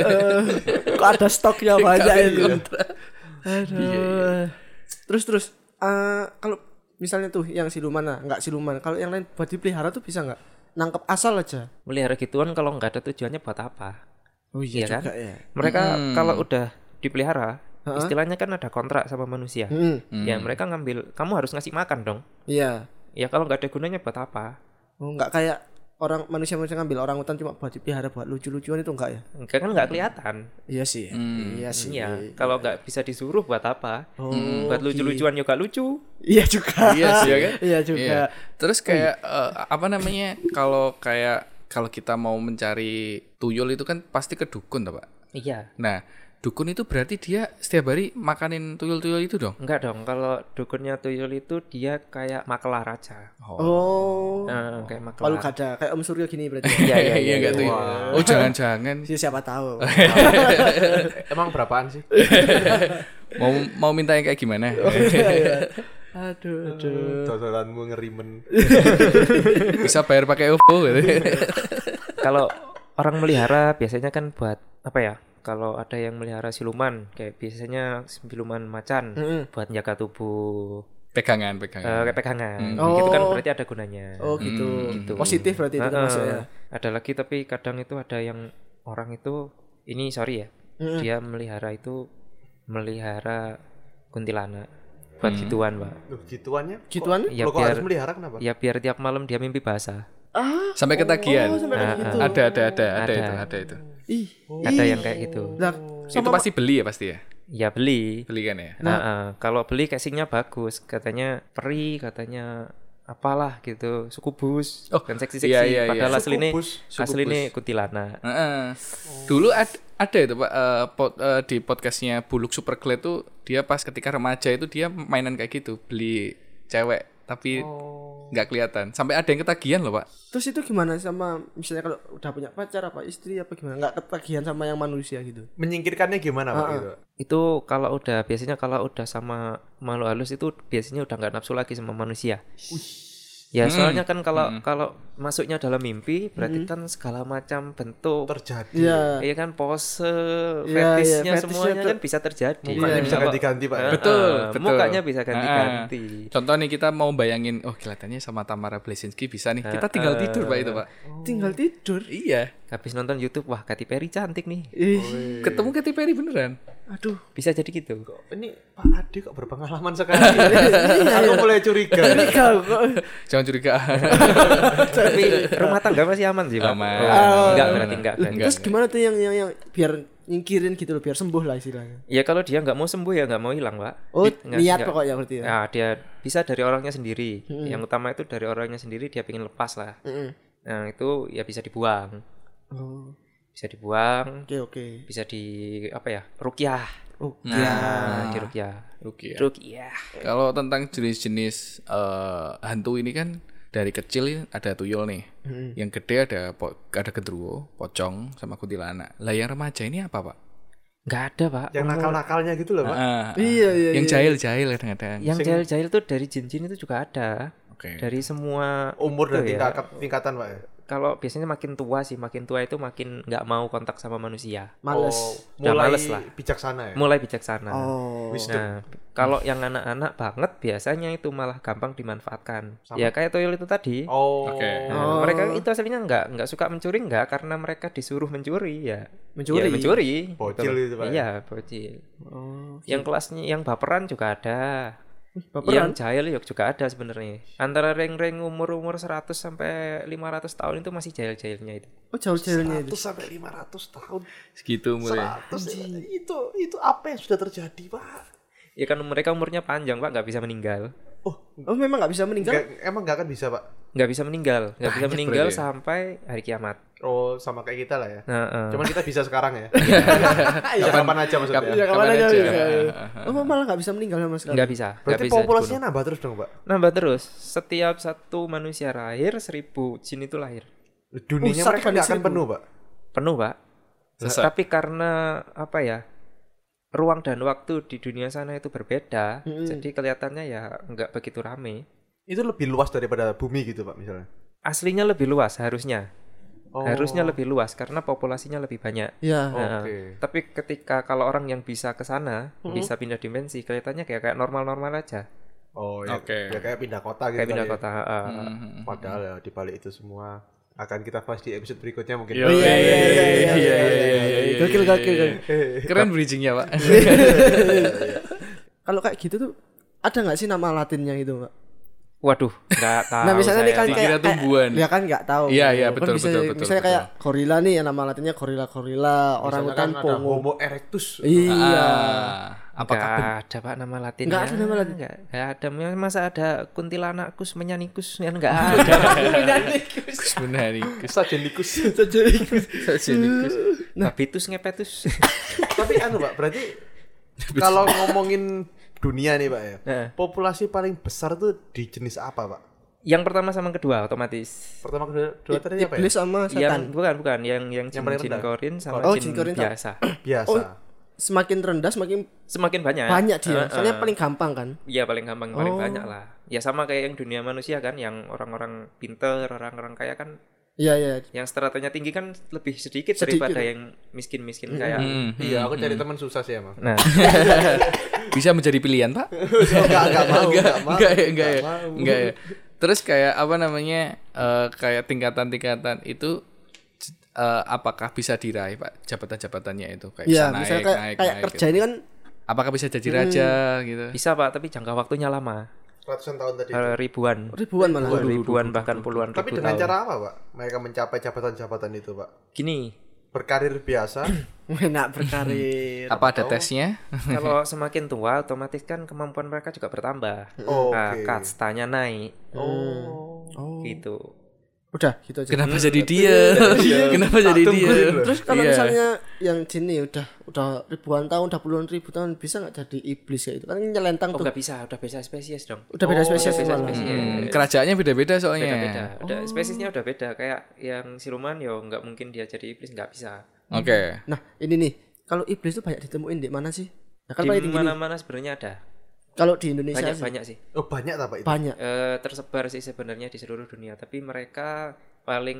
C: [LAUGHS] Kok ada stoknya banyak
B: Kawin
C: itu?
B: kontrak. Iya.
C: Aduh. Terus terus eh, kalau misalnya tuh yang siluman lah, nggak siluman. Kalau yang lain buat dipelihara tuh bisa nggak? Nangkep asal aja.
E: melihara gituan kalau nggak ada tujuannya buat apa
C: Oh
E: iya kan?
C: ya.
E: mereka kalau udah dipelihara istilahnya kan ada kontrak sama manusia
C: Hmm,
E: ya mereka ngambil kamu harus ngasih makan dong
C: iya.
E: ya kalau nggak ada gunanya buat apa
C: Oh, nggak kayak orang manusia manusia ngambil orang hutan cuma buat dipelihara buat lucu-lucuan itu nggak ya?
E: Enggak kan nggak kelihatan
C: Iya sih.
B: Hmm.
C: Iya sih.
E: Iya, kalau nggak bisa disuruh buat apa
C: Oh,
E: buat lucu-lucuan juga lucu
C: Iya juga.
B: Iya sih, ya kan?
C: Iya juga.
B: Iya. Terus kayak eh, apa namanya? Kalau kayak kalau kita mau mencari tuyul itu kan pasti ke dukun, toh, Pak.
E: iya
B: Nah, dukun itu berarti dia setiap hari makanin tuyul-tuyul itu dong.
E: Enggak dong, kalau dukunnya tuyul itu dia kayak makelar aja.
B: Iya.
C: Oh.
E: Nah, kayak makelar.
C: Kalau ada kayak Om Suryo gini berarti.
B: [LAUGHS]
E: Iya, iya,
B: Iya
E: iya.
B: enggak tuyul. Oh, jangan-jangan
C: Si- siapa
B: [LAUGHS]
C: tahu.
D: Emang berapaan sih?
B: mau mau minta yang kayak gimana?
E: [LAUGHS]
C: Aduh. Aduh.
D: Dodolanmu ngerimen.
B: Bisa bayar pakai OVO gitu.
E: [LAUGHS] Kalau orang melihara biasanya kan buat apa ya? Kalau ada yang melihara siluman, kayak biasanya siluman macan buat jaga tubuh,
B: Pegangan,
E: eh,
B: pegangan.
E: kayak pegangan. Gitu kan
C: Oh.
E: berarti ada gunanya.
C: Oh gitu. Positif berarti itu kan
E: Nah,
C: maksudnya.
E: eh, Ada lagi tapi kadang itu ada yang orang itu ini sorry ya, dia melihara itu melihara kuntilanak buat gituan, Pak.
D: Loh, gituannya? Kok-
C: Gituan?
E: Ya
D: Loh, kok harus
E: biar-
D: melihara kenapa?
E: Ya biar tiap malam dia mimpi basah.
B: Sampai ketagihan.
E: kayak gitu.
B: ada, ada, ada, ada,
E: Ada.
B: itu, ada itu.
C: Ih.
E: Ada
B: ya?
E: yang kayak gitu.
C: Lah,
B: itu pasti beli ya pasti ya.
E: Ya beli.
B: Beli kan ya.
E: Nah, eh, kalau beli casingnya bagus, katanya peri, katanya apalah gitu, sukubus,
B: Oh,
E: kan seksi-seksi.
B: iya, iya, iya.
E: Padahal asli ini
D: Sukubus,
E: asli ini kuntilanak.
B: Heeh. Dulu ad- ada itu pak eh, pod- eh, di podcastnya Buluk Superglad tuh dia pas ketika remaja itu dia mainan kayak gitu beli cewek tapi
E: Oh.
B: nggak kelihatan sampai ada yang ketagihan loh pak.
C: Terus itu gimana sama misalnya kalau udah punya pacar apa istri apa gimana? Nggak ketagihan sama yang manusia gitu.
D: Menyingkirkannya gimana pak? gitu?
E: Itu kalau udah biasanya kalau udah sama makhluk halus itu biasanya udah nggak nafsu lagi sama manusia. Ya soalnya kan kalau kalau masuknya dalam mimpi berarti kan segala macam bentuk
D: Terjadi.
C: Iya.
E: Iya kan pose,
C: Iya, iya,
E: fetisnya
C: fetisnya
E: semuanya
C: tuh-
E: kan bisa terjadi.
D: Mukanya Iya, bisa kan.
E: Kalau-
D: ganti-ganti pak. ya?
E: Eh,
B: Betul,
E: eh,
B: betul.
E: Mukanya bisa ganti-ganti.
B: Heeh. Contoh nih kita mau bayangin, oh kelihatannya sama Tamara Blesinski bisa nih.
E: Ah,
B: Kita tinggal tidur pak itu pak.
E: Oh.
C: Tinggal tidur.
B: Iya.
E: Habis nonton YouTube, wah Katy Perry cantik nih.
C: Ih.
B: Ketemu Katy Perry beneran.
C: Aduh.
E: Bisa jadi gitu.
D: Ini Pak Ade kok berpengalaman
E: [LAUGHS]
D: sekali. ya? Iya, Aku mulai curiga.
C: Kau kok
B: Jangan curiga.
E: Tapi rumah tangga masih aman sih, Pak.
B: Aman.
E: Oh,
B: Aman.
E: enggak berarti enggak. berarti.
B: Enggak.
C: terus gimana tuh yang yang yang biar nyingkirin gitu loh, biar sembuh lah istilahnya.
E: Ya kalau dia nggak mau sembuh ya nggak mau hilang, Pak.
C: Oh,
E: Nggak-
C: niat
E: nggak-
C: pokoknya berarti ya.
E: Nah, dia bisa dari orangnya sendiri. Yang utama itu dari orangnya sendiri dia pengen lepas lah. Nah, itu ya bisa dibuang.
C: Oh,
E: Bisa dibuang,
C: Oke oke.
E: bisa di apa ya? Rukyah.
C: Oh,
E: Nah, di rukyah.
B: Oke. ya.
E: Rukyah.
B: Kalau tentang jenis-jenis eh, hantu ini kan dari kecil ada tuyul nih. Yang gede ada po- ada genderuwo, pocong sama kuntilanak. Lah yang remaja ini apa, Pak?
E: Nggak ada, Pak.
D: Yang nakal-nakalnya gitu loh
E: Nah.
D: pak.
B: Ah,
C: Iya, iya,
B: yang jahil-jahil kadang-kadang.
E: Yang jahil-jahil tuh dari jin-jin itu juga ada.
B: Oke.
E: Dari semua
D: Umur dan
E: itu ya.
D: tingkat tingkatan pak. ya?
E: Kalau biasanya makin tua sih, makin tua itu makin nggak mau kontak sama manusia.
C: males.
D: Oh,
E: Udah
D: mulai
E: males lah.
D: bijaksana ya.
E: Mulai bijaksana.
C: Oh.
E: Nah, kalau yang anak-anak banget biasanya itu malah gampang dimanfaatkan.
D: Sama.
E: Ya kayak tuyul itu tadi.
D: Oh.
B: Oke.
E: Nah, Mereka itu aslinya nggak nggak suka mencuri nggak karena mereka disuruh mencuri ya.
C: Mencuri?
E: Ya, mencuri.
D: Bocil
E: Betul.
D: itu, Pak.
E: Iya bocil.
C: Oh.
E: Yang kelasnya yang baperan juga ada.
C: baperan.
E: yang jahil ya juga ada sebenarnya. Antara ring-ring umur-umur 100 sampai 500 tahun itu masih jahil-jahilnya itu.
C: Oh jauh-jauhnya itu.
D: 100 sampai 500 tahun.
B: segitu
E: Iya.
B: umurnya
D: 100 itu itu apa yang sudah terjadi, Pak?
E: Ya kan mereka umurnya panjang, Pak, nggak bisa meninggal.
C: Oh memang nggak bisa meninggal.
D: Nggak- emang nggak akan bisa, Pak.
E: Nggak bisa meninggal, nggak bisa
B: Banyak
E: meninggal
B: berarti ya.
E: sampai hari kiamat.
D: Oh, sama kayak kita lah ya.
E: Nah, eh.
D: Cuman kita bisa sekarang
E: [LAUGHS]
D: ya. ya kapan aja maksudnya.
C: Ya kapan
B: Kapan
C: aja
B: aja. Iya.
C: bisa. Oh malah nggak bisa meninggal sama sekali.
E: nggak bisa, nggak
D: Berarti
E: bisa
D: populasinya
E: dibunuh.
D: nambah terus dong, Pak.
E: Nambah terus. Setiap satu manusia lahir, seribu jin itu lahir.
D: Dunianya
C: Pusat
D: mereka
C: kan
D: nggak akan
C: seribu.
D: penuh, Pak.
E: Penuh, Pak. Nah,
B: Sesat.
E: Tapi karena apa ya? Ruang dan waktu di dunia sana itu berbeda, jadi kelihatannya ya nggak begitu rame.
D: Itu lebih luas daripada bumi gitu, Pak, misalnya.
E: Aslinya lebih luas harusnya.
D: Oh.
E: Harusnya lebih luas karena populasinya lebih banyak.
C: Ya.
E: Nah,
D: Oke.
E: Tapi ketika kalau orang yang bisa ke sana, bisa pindah dimensi, kelihatannya kayak kayak normal-normal aja.
D: Oh, ya,
B: Oke.
D: ya kayak pindah kota gitu.
E: Kayak pindah
D: kali ya.
E: kota. eh,
D: Padahal ya di balik itu semua akan kita bahas di episode berikutnya mungkin.
B: Yo, iya, iya, iya, iya, iya, iya,
C: Gokil
B: iya,
C: gokil.
B: iya.
C: gokil.
B: keren bridgingnya pak
C: Kalau kayak gitu tuh ada nggak sih nama latinnya gitu, Pak?
E: Waduh, [LAUGHS] nggak tahu.
C: Nah, misalnya nih
E: saya,
C: kan
E: Pak.
C: kayak
B: Dikira tumbuhan.
C: kayak- Ya kan nggak tahu.
B: Iya, iya,
C: Kan
B: betul,
C: bisa-
B: betul, betul,
C: Misalnya
B: betul.
C: kayak gorila nih yang nama latinnya gorila gorila,
D: Misalnya
C: orang hutan
D: kan ada
C: pongo.
D: Homo erectus.
C: Iya.
B: [LAUGHS] Ah, apakah
E: Nggak
B: ben-
E: ada pak nama latinnya?
C: Nggak ada nama latin.
E: Nggak, nggak ada. Masa ada kuntilanakus, menyanikus? Ya, [LAUGHS] nggak ada.
B: sebenarnya
D: Sajenicus.
E: Babitus, ngepetus.
D: [LAUGHS]
E: [LAUGHS]
D: Tapi anu, Pak, berarti kalau ngomongin dunia nih, Pak ya.
E: Heeh.
D: Populasi paling besar tuh di jenis apa, Pak?
E: yang pertama sama kedua otomatis.
D: Pertama kedua, dua tadi apa ya?
C: Iblis
B: Iya,
C: sama
E: Yang
C: setan.
E: bukan bukan yang yang jin,
D: paling
E: jin
D: rendah.
E: korin sama
C: Oh, jin
E: jin,
C: korin sama-
E: biasa. [CLEARS THROAT]
D: Biasa. Iya,
C: Oh, semakin rendah semakin
E: Semakin banyak.
C: banyak
E: Eh,
C: dia.
E: eh.
C: Soalnya paling gampang kan.
E: Iya paling gampang paling banyak lah. Ya sama kayak yang dunia manusia kan, yang orang-orang pinter, orang-orang kaya kan,
C: Iya, iya.
E: yang stratanya tinggi kan lebih sedikit,
C: Sedikit.
E: daripada yang miskin-miskin kayak.
D: Iya, aku cari teman susah sih emang.
E: Nah,
B: bisa menjadi pilihan pak
D: Enggak, enggak mau,
B: enggak
D: enggak mau.
B: enggak ya, enggak ya,
D: mau.
B: enggak ya. Terus kayak apa namanya eh, kayak tingkatan-tingkatan itu eh, apakah bisa diraih pak jabatan-jabatannya itu kayak
C: Iya,
B: bisa
C: misalnya
B: naik
C: kayak
B: naik,
C: kayak Hmm.
B: naik
C: kerja
B: gitu.
C: ini kan
B: apakah bisa jadi raja gitu
E: bisa pak, tapi jangka waktunya lama,
D: Ratusan tahun tadi.
E: Eh, ribuan.
C: ribuan malah.
E: ribuan bahkan puluhan
D: Tapi
E: ribu
D: dengan
E: tahun.
D: cara apa, Pak? Mereka mencapai jabatan-jabatan itu, Pak.
E: Gini,
D: Berkarir biasa.
C: [LAUGHS] Enak
D: Iya,
C: berkarir.
B: apa ada tesnya [LAUGHS]
E: [LAUGHS] kalau semakin tua otomatis kan kemampuan mereka juga bertambah.
D: Oh,
E: Nah,
D: Oke.
E: kastanya naik
D: Oh.
E: gitu.
C: Udah gitu aja.
B: kenapa jadi dia kenapa jadi dia
C: Terus kalau
B: Iya.
C: misalnya yang sini udah udah ribuan tahun, udah puluhan ribu tahun bisa nggak jadi iblis kayak itu? Kan nyelentang
E: Oh,
C: tuh.
E: nggak bisa, udah beda spesies dong. Oh,
C: Udah beda spesies
E: beda
C: malah. Oh.
E: spesies.
B: Hmm, kerajaannya beda-beda soalnya
E: Beda, udah spesiesnya udah beda kayak yang siluman yo nggak mungkin dia jadi iblis nggak bisa.
B: oke
C: Nah, ini nih. Kalau iblis tuh banyak ditemuin di mana sih? Ya kan paling
E: Di
C: tinggi. nih.
E: mana-mana sebenarnya ada.
C: Kalau di Indonesia
E: Banyak
C: sih,
E: banyak sih.
D: Oh, banyak tak, Pak itu?
C: banyak.
E: Eh, tersebar sih sebenarnya di seluruh dunia, tapi mereka paling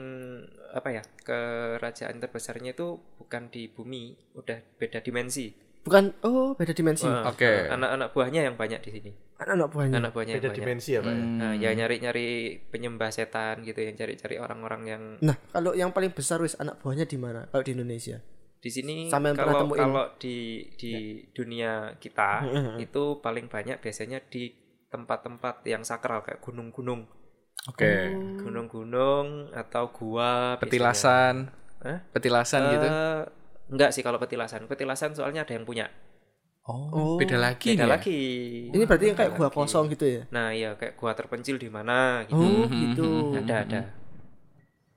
E: apa ya kerajaan terbesarnya itu bukan di bumi, udah beda dimensi.
C: Bukan oh, beda dimensi.
E: Eh,
B: Oke.
E: Anak-anak buahnya yang banyak di sini.
C: Anak-anak buahnya.
E: Anak buahnya
D: Hmm. Beda
E: yang banyak.
D: dimensi ya, Pak. ya?
B: Hmm.
E: Nah, ya
C: Hmm.
E: nyari-nyari penyembah setan gitu, yang cari-cari orang-orang yang
C: Nah, kalau yang paling besar wis anak buahnya di mana? Kalau di Indonesia.
E: di sini
C: Sama yang pernah
E: kalau
C: temuin. Ya.
E: kalau di di dunia
C: [LAUGHS]
E: kita itu paling banyak biasanya di tempat-tempat yang sakral kayak gunung-gunung,
B: oke
E: Oh.
C: Hmm.
E: gunung-gunung atau gua. biasanya.
B: petilasan
E: Hah?
B: petilasan gitu
E: Eh, enggak sih kalau petilasan. Petilasan soalnya ada yang punya.
B: oh beda lagi
C: Iya.
E: Beda
B: nih ya?
E: lagi.
C: Ini berarti yang kayak gua kosong gitu ya.
E: Nah, iya kayak gua terpencil di mana gitu.
C: Oh, gitu.
E: Ada ada. hmm.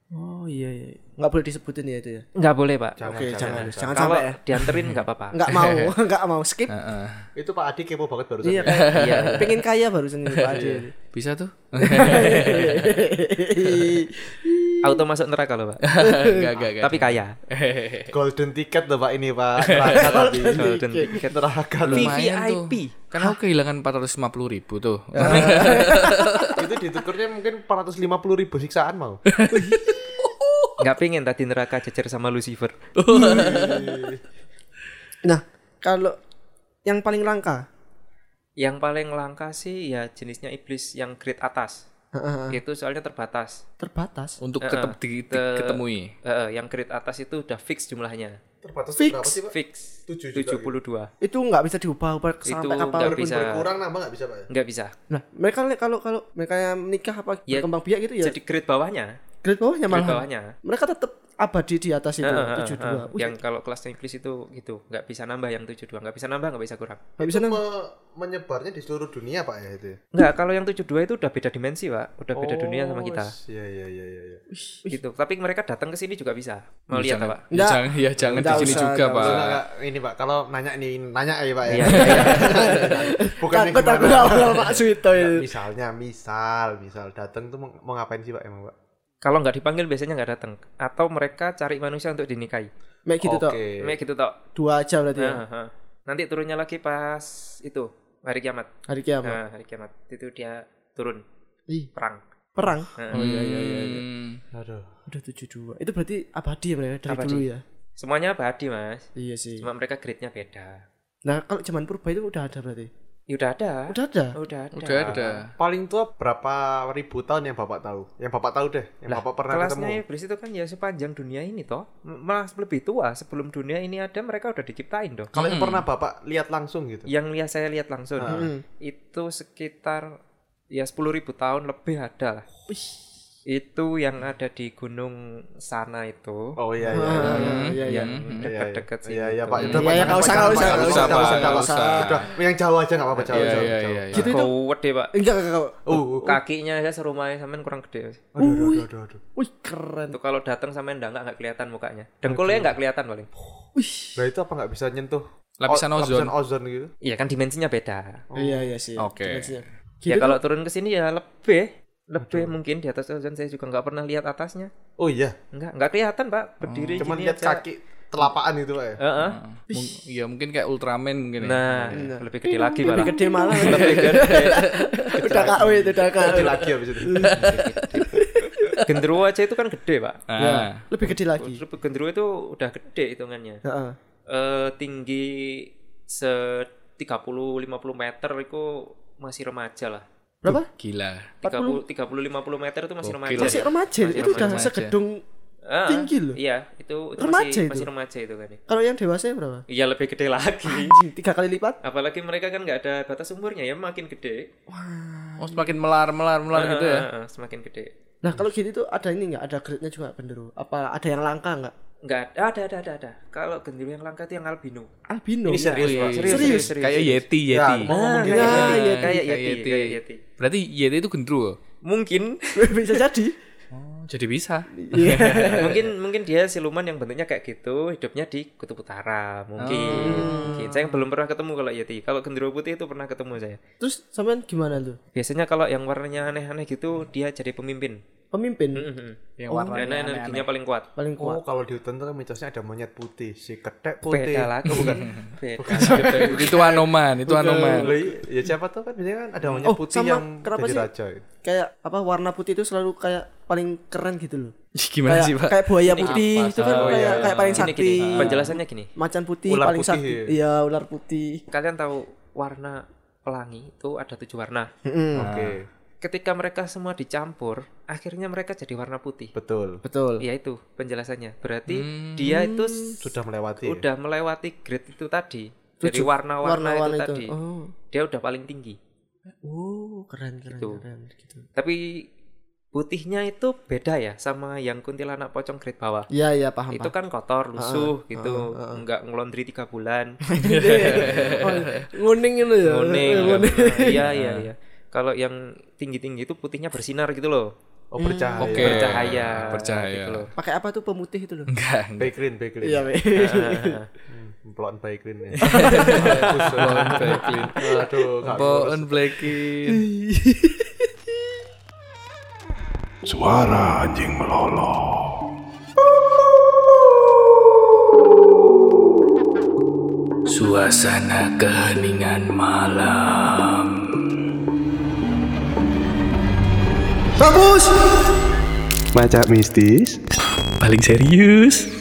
C: Oh, iya iya. Nggak boleh disebutin ya itu ya.
E: Enggak boleh, Pak.
C: Oke, jangan jangan
E: kalau
C: sampai ya.
E: dianterin enggak apa-apa.
C: Nggak
E: [LAUGHS]
C: mau, [LAUGHS] nggak mau skip.
D: Itu Pak Adi kepo banget barusan.
C: Iya, kayak pengen kaya barusan ini Pak Ade.
E: Iya.
B: bisa
E: [LAUGHS]
B: tuh
E: Auto masuk neraka loh, Pak.
B: enggak enggak enggak
E: Tapi kaya.
D: Golden ticket loh, Pak ini,
E: [LAUGHS]
D: Pak. Neraka tadi.
E: Golden ticket.
D: Neraka tuh.
B: lumayan tuh
E: VVIP.
B: karena aku kehilangan 450 ribu tuh
E: Eh,
D: itu ditukurnya mungkin 450 ribu siksaan mau.
E: Enggak pengen tadi neraka jejer sama Lucifer.
C: [LAUGHS] Nah, kalau yang paling langka,
E: Yang paling langka sih ya jenisnya iblis yang grade atas.
C: Heeh.
E: Itu soalnya terbatas.
C: terbatas.
B: [LAUGHS] untuk tetap di-
E: Te-
B: diketemui
E: Eh, eh, yang grade atas itu udah fix jumlahnya.
D: terbatas
C: Fix.
D: berapa sih pak?
E: fix
D: Tujuh
E: 72
D: juta ya?
C: itu nggak bisa diubah-ubah
E: itu
C: sampai kapan
E: nggak
D: Walaupun
E: bisa
D: berkurang nambah nggak bisa pak ya?
E: nggak bisa
C: Nah, mereka li- kalau kalau mereka nikah apa
E: Ya,
C: berkembang biak gitu ya,
E: jadi grade bawahnya
C: grade bawahnya
E: grade
C: malah.
E: bawahnya
C: Mereka tetap abadi di atas itu,
E: Heeh,
C: 72.
E: heeh, heeh.
C: Wih,
E: yang kalau kelasnya Inggris itu gitu nggak bisa nambah yang 72 nggak bisa nambah nggak bisa kurang
C: nggak bisa nang.
D: Me- menyebarnya di seluruh dunia pak ya itu? ya?
E: nggak kalau yang 72 itu udah beda dimensi pak udah beda dunia
D: Oh,
E: sama kita
D: Iya iya iya iya. iya.
E: gitu tapi mereka datang ke sini juga bisa mau lihat
B: Jangan-
E: pak
B: Ya,
C: Nggak.
B: jangan, ya jangan di
C: Nggak
B: sini
C: usah,
B: juga,
C: nggak
B: Pak.
D: Nah, nggak, ini pak kalau nanya nih nanya ya pak ya. [LAUGHS]
E: Iya, iya, iya.
D: Bukannya
C: Takut aku
D: gimana?
C: awal Pak Suito
D: Nggak,
C: itu.
D: Misalnya misal misal datang tuh mau, mau ngapain sih pak emang pak?
E: kalau nggak dipanggil biasanya nggak datang atau mereka cari manusia untuk dinikahi
C: Mek gitu toh.
D: Oke.
E: Kayak gitu toh
C: Dua aja berarti ya.
E: Heeh, heeh. nanti turunnya lagi pas itu hari kiamat
C: Hari kiamat.
E: Nah, hari kiamat itu dia turun
C: Ih,
E: perang
C: perang.
E: Heeh. ya.
B: Hmm.
D: Aduh.
C: Udah 72. Itu berarti abadi mereka dari
E: Abadi.
C: dulu ya.
E: semuanya abadi mas
C: Iya sih.
E: cuma mereka grade-nya beda
C: Nah, kalau zaman purba itu udah ada berarti.
E: ya udah ada Ya
C: Udah ada.
E: udah ada,
B: Udah ada.
D: Paling tua berapa ribu tahun yang bapak tahu? Yang bapak tahu deh, yang
E: Lah,
D: bapak pernah
E: kelasnya
D: ketemu.
E: Iblis itu kan ya sepanjang dunia ini toh M- malah lebih tua sebelum dunia ini ada mereka udah diciptain dong
D: Kalau
B: Hmm.
D: yang pernah bapak lihat langsung
B: Iya.
D: gitu. Ah.
E: yang lihat saya lihat langsung
C: Hmm.
E: itu sekitar ya 10.000 tahun lebih ada lah itu yang ada di gunung sana itu
D: Oh iya iya. iya.
C: Ah, Iya, iya.
E: yang dekat-dekat sini
D: Iya iya pak itu
C: Iya, iya, nggak usah, nggak usah,
B: usah,
C: nggak
B: nggak usah, nggak usah.
D: Udah, yang jauh aja nggak apa-apa jauh
B: Iya,
D: jauh.
B: iya,
D: jauh.
B: iya, iya.
C: Gitu itu.
E: Kowet deh pak
C: Enggak, enggak, enggak.
D: Uh, uh, uh.
E: kakinya aja serumahnya sampean kurang gede Mas.
D: Aduh, aduh, aduh, aduh, aduh.
C: Wih, keren.
E: itu kalau datang sampean enggak nggak kelihatan mukanya dengkulnya nggak kelihatan paling
D: Nah itu apa nggak bisa nyentuh
B: Lapisan
D: o-
B: ozon.
D: lapisan ozon gitu?
E: iya kan dimensinya beda
C: Iya, iya sih.
B: Oke.
C: Dimensinya.
E: ya kalau turun ke sini ya lebih lebih mungkin di atas ozon saya juga nggak pernah lihat atasnya
D: Oh iya,
E: nggak nggak kelihatan pak berdiri
D: Oh. cuman
E: gini
D: lihat
E: aja.
D: kaki telapaan itu pak ya.
B: Eh.
E: Heeh.
B: Mung- ya mungkin kayak Ultraman mungkin ya.
E: nah lebih gede lagi pak
C: Iya. Lebih gede malah.
E: lebih gede
C: udah KW itu udah KW.
D: Kecil lagi habis itu.
E: genderuwo aja itu kan gede pak
B: Nah,
C: Ya, lebih gede lagi.
E: terus genderuwo itu udah gede hitungannya
C: Heeh.
E: Eh, tinggi se 30-50 meter itu masih remaja lah
C: Berapa?
B: gila.
E: 30 30-50 meter itu masih Oh, remaja
C: Masih remaja. Itu udah segedung
E: Ah,
C: tinggi loh.
E: iya itu, itu
C: Remaja
E: masih,
C: itu.
E: masih remaja itu kan ya.
C: Kalau yang dewasa berapa?
E: iya lebih gede
C: [LAUGHS]
E: lagi
C: Anjing, tiga kali lipat.
E: apalagi mereka kan nggak ada batas umurnya ya makin gede
B: Oh, semakin melar melar melar gitu ya.
E: Heeh, semakin gede
C: Nah, kalau gitu tuh ada ini enggak? Ada grade-nya juga bener. Apa ada yang langka enggak?
E: nggak ada ada ada ada, ada. kalau genderuwo yang langka itu yang albino
C: Albino.
E: ini serius,
B: iya,
E: Pak.
B: iya.
E: serius, eh. serius, serius,
B: Kayak Yeti,
C: Ya,
B: Yeti.
D: Mau ngomong gitu.
E: kayak
C: Ah,
E: Yeti,
C: Yeti.
E: kayak
B: Kayak
E: Yeti,
B: Yeti.
C: ya.
E: kayak Yeti.
B: Berarti Yeti itu gendruwo.
C: [LAUGHS]
E: mungkin
C: [LAUGHS] Bisa jadi.
B: Jadi bisa.
C: Iya.
B: [LAUGHS]
E: mungkin mungkin dia siluman yang bentuknya kayak gitu hidupnya di kutub utara mungkin,
C: Oh.
E: Mungkin. saya belum pernah ketemu kalau Yeti kalau genderuwo putih itu pernah ketemu saya
C: Terus sampean gimana tuh?
E: biasanya kalau yang warnanya aneh-aneh gitu dia jadi pemimpin
C: Pemimpin
E: Mhm.
B: Yang
C: Oh,
B: warnanya
E: karena energinya paling kuat
C: paling
D: Oh
C: kuat.
D: kalau di hutan tuh kan mitosnya ada monyet putih, si ketek putih.
E: beda lagi
C: [LAUGHS]
E: beda
B: Gitu. itu anoman, itu anoman.
D: Lah, iya. Ya siapa tuh kan biasanya kan ada monyet
C: Oh,
D: putih
C: sama.
D: yang
C: Kenapa
D: jadi
C: sih?
D: raja. gitu.
C: Kayak apa warna putih itu selalu kayak paling keren gitu loh.
B: Gimana
C: Kayak
B: sih, Pak?
C: kayak buaya putih itu
E: Oh,
C: kan
E: iya,
C: kayak kayak paling
E: Gini,
C: sakti. Iya.
E: gini, penjelasannya gini
C: Macan putih
D: Ular
C: paling
D: putih,
C: sakti.
D: ya.
C: Iya, ular putih.
E: kalian tahu warna pelangi itu ada tujuh warna
D: Oke,
B: Nah.
E: ketika mereka semua dicampur akhirnya mereka jadi warna putih
D: betul.
C: Betul.
E: ya itu penjelasannya berarti
B: Hmm.
E: dia itu s-
D: Sudah melewati. ya?
E: udah melewati grade itu tadi dari warna-warna itu,
C: Warna-warna
E: tadi
C: itu. Oh.
E: dia udah paling tinggi
C: Oh, keren keren keren gitu.
E: tapi putihnya itu beda ya sama yang kuntilanak pocong grade bawah
C: Iya, iya paham.
E: itu kan kotor lusuh gitu nggak ngelondri tiga bulan
C: oh, nguning itu ya. [LAUGHS]
E: kuning nggak pernah. iya iya iya kalau yang tinggi tinggi itu putihnya bersinar gitu loh
D: Oh bercahaya.
B: Oke.
E: bercahaya
B: Bercahaya.
E: gitu loh
C: Pakai apa tuh pemutih itu loh?
B: Enggak. enggak.
D: Baik green, baik green.
C: Iya, Be.
D: Hmm, Pelan baik green ya. Pelan baik green. Aduh, nggak
B: Pohon Blackin.
A: Suara anjing melolong.
B: Suasana keheningan malam.
A: Baca mistis.
B: Paling serius.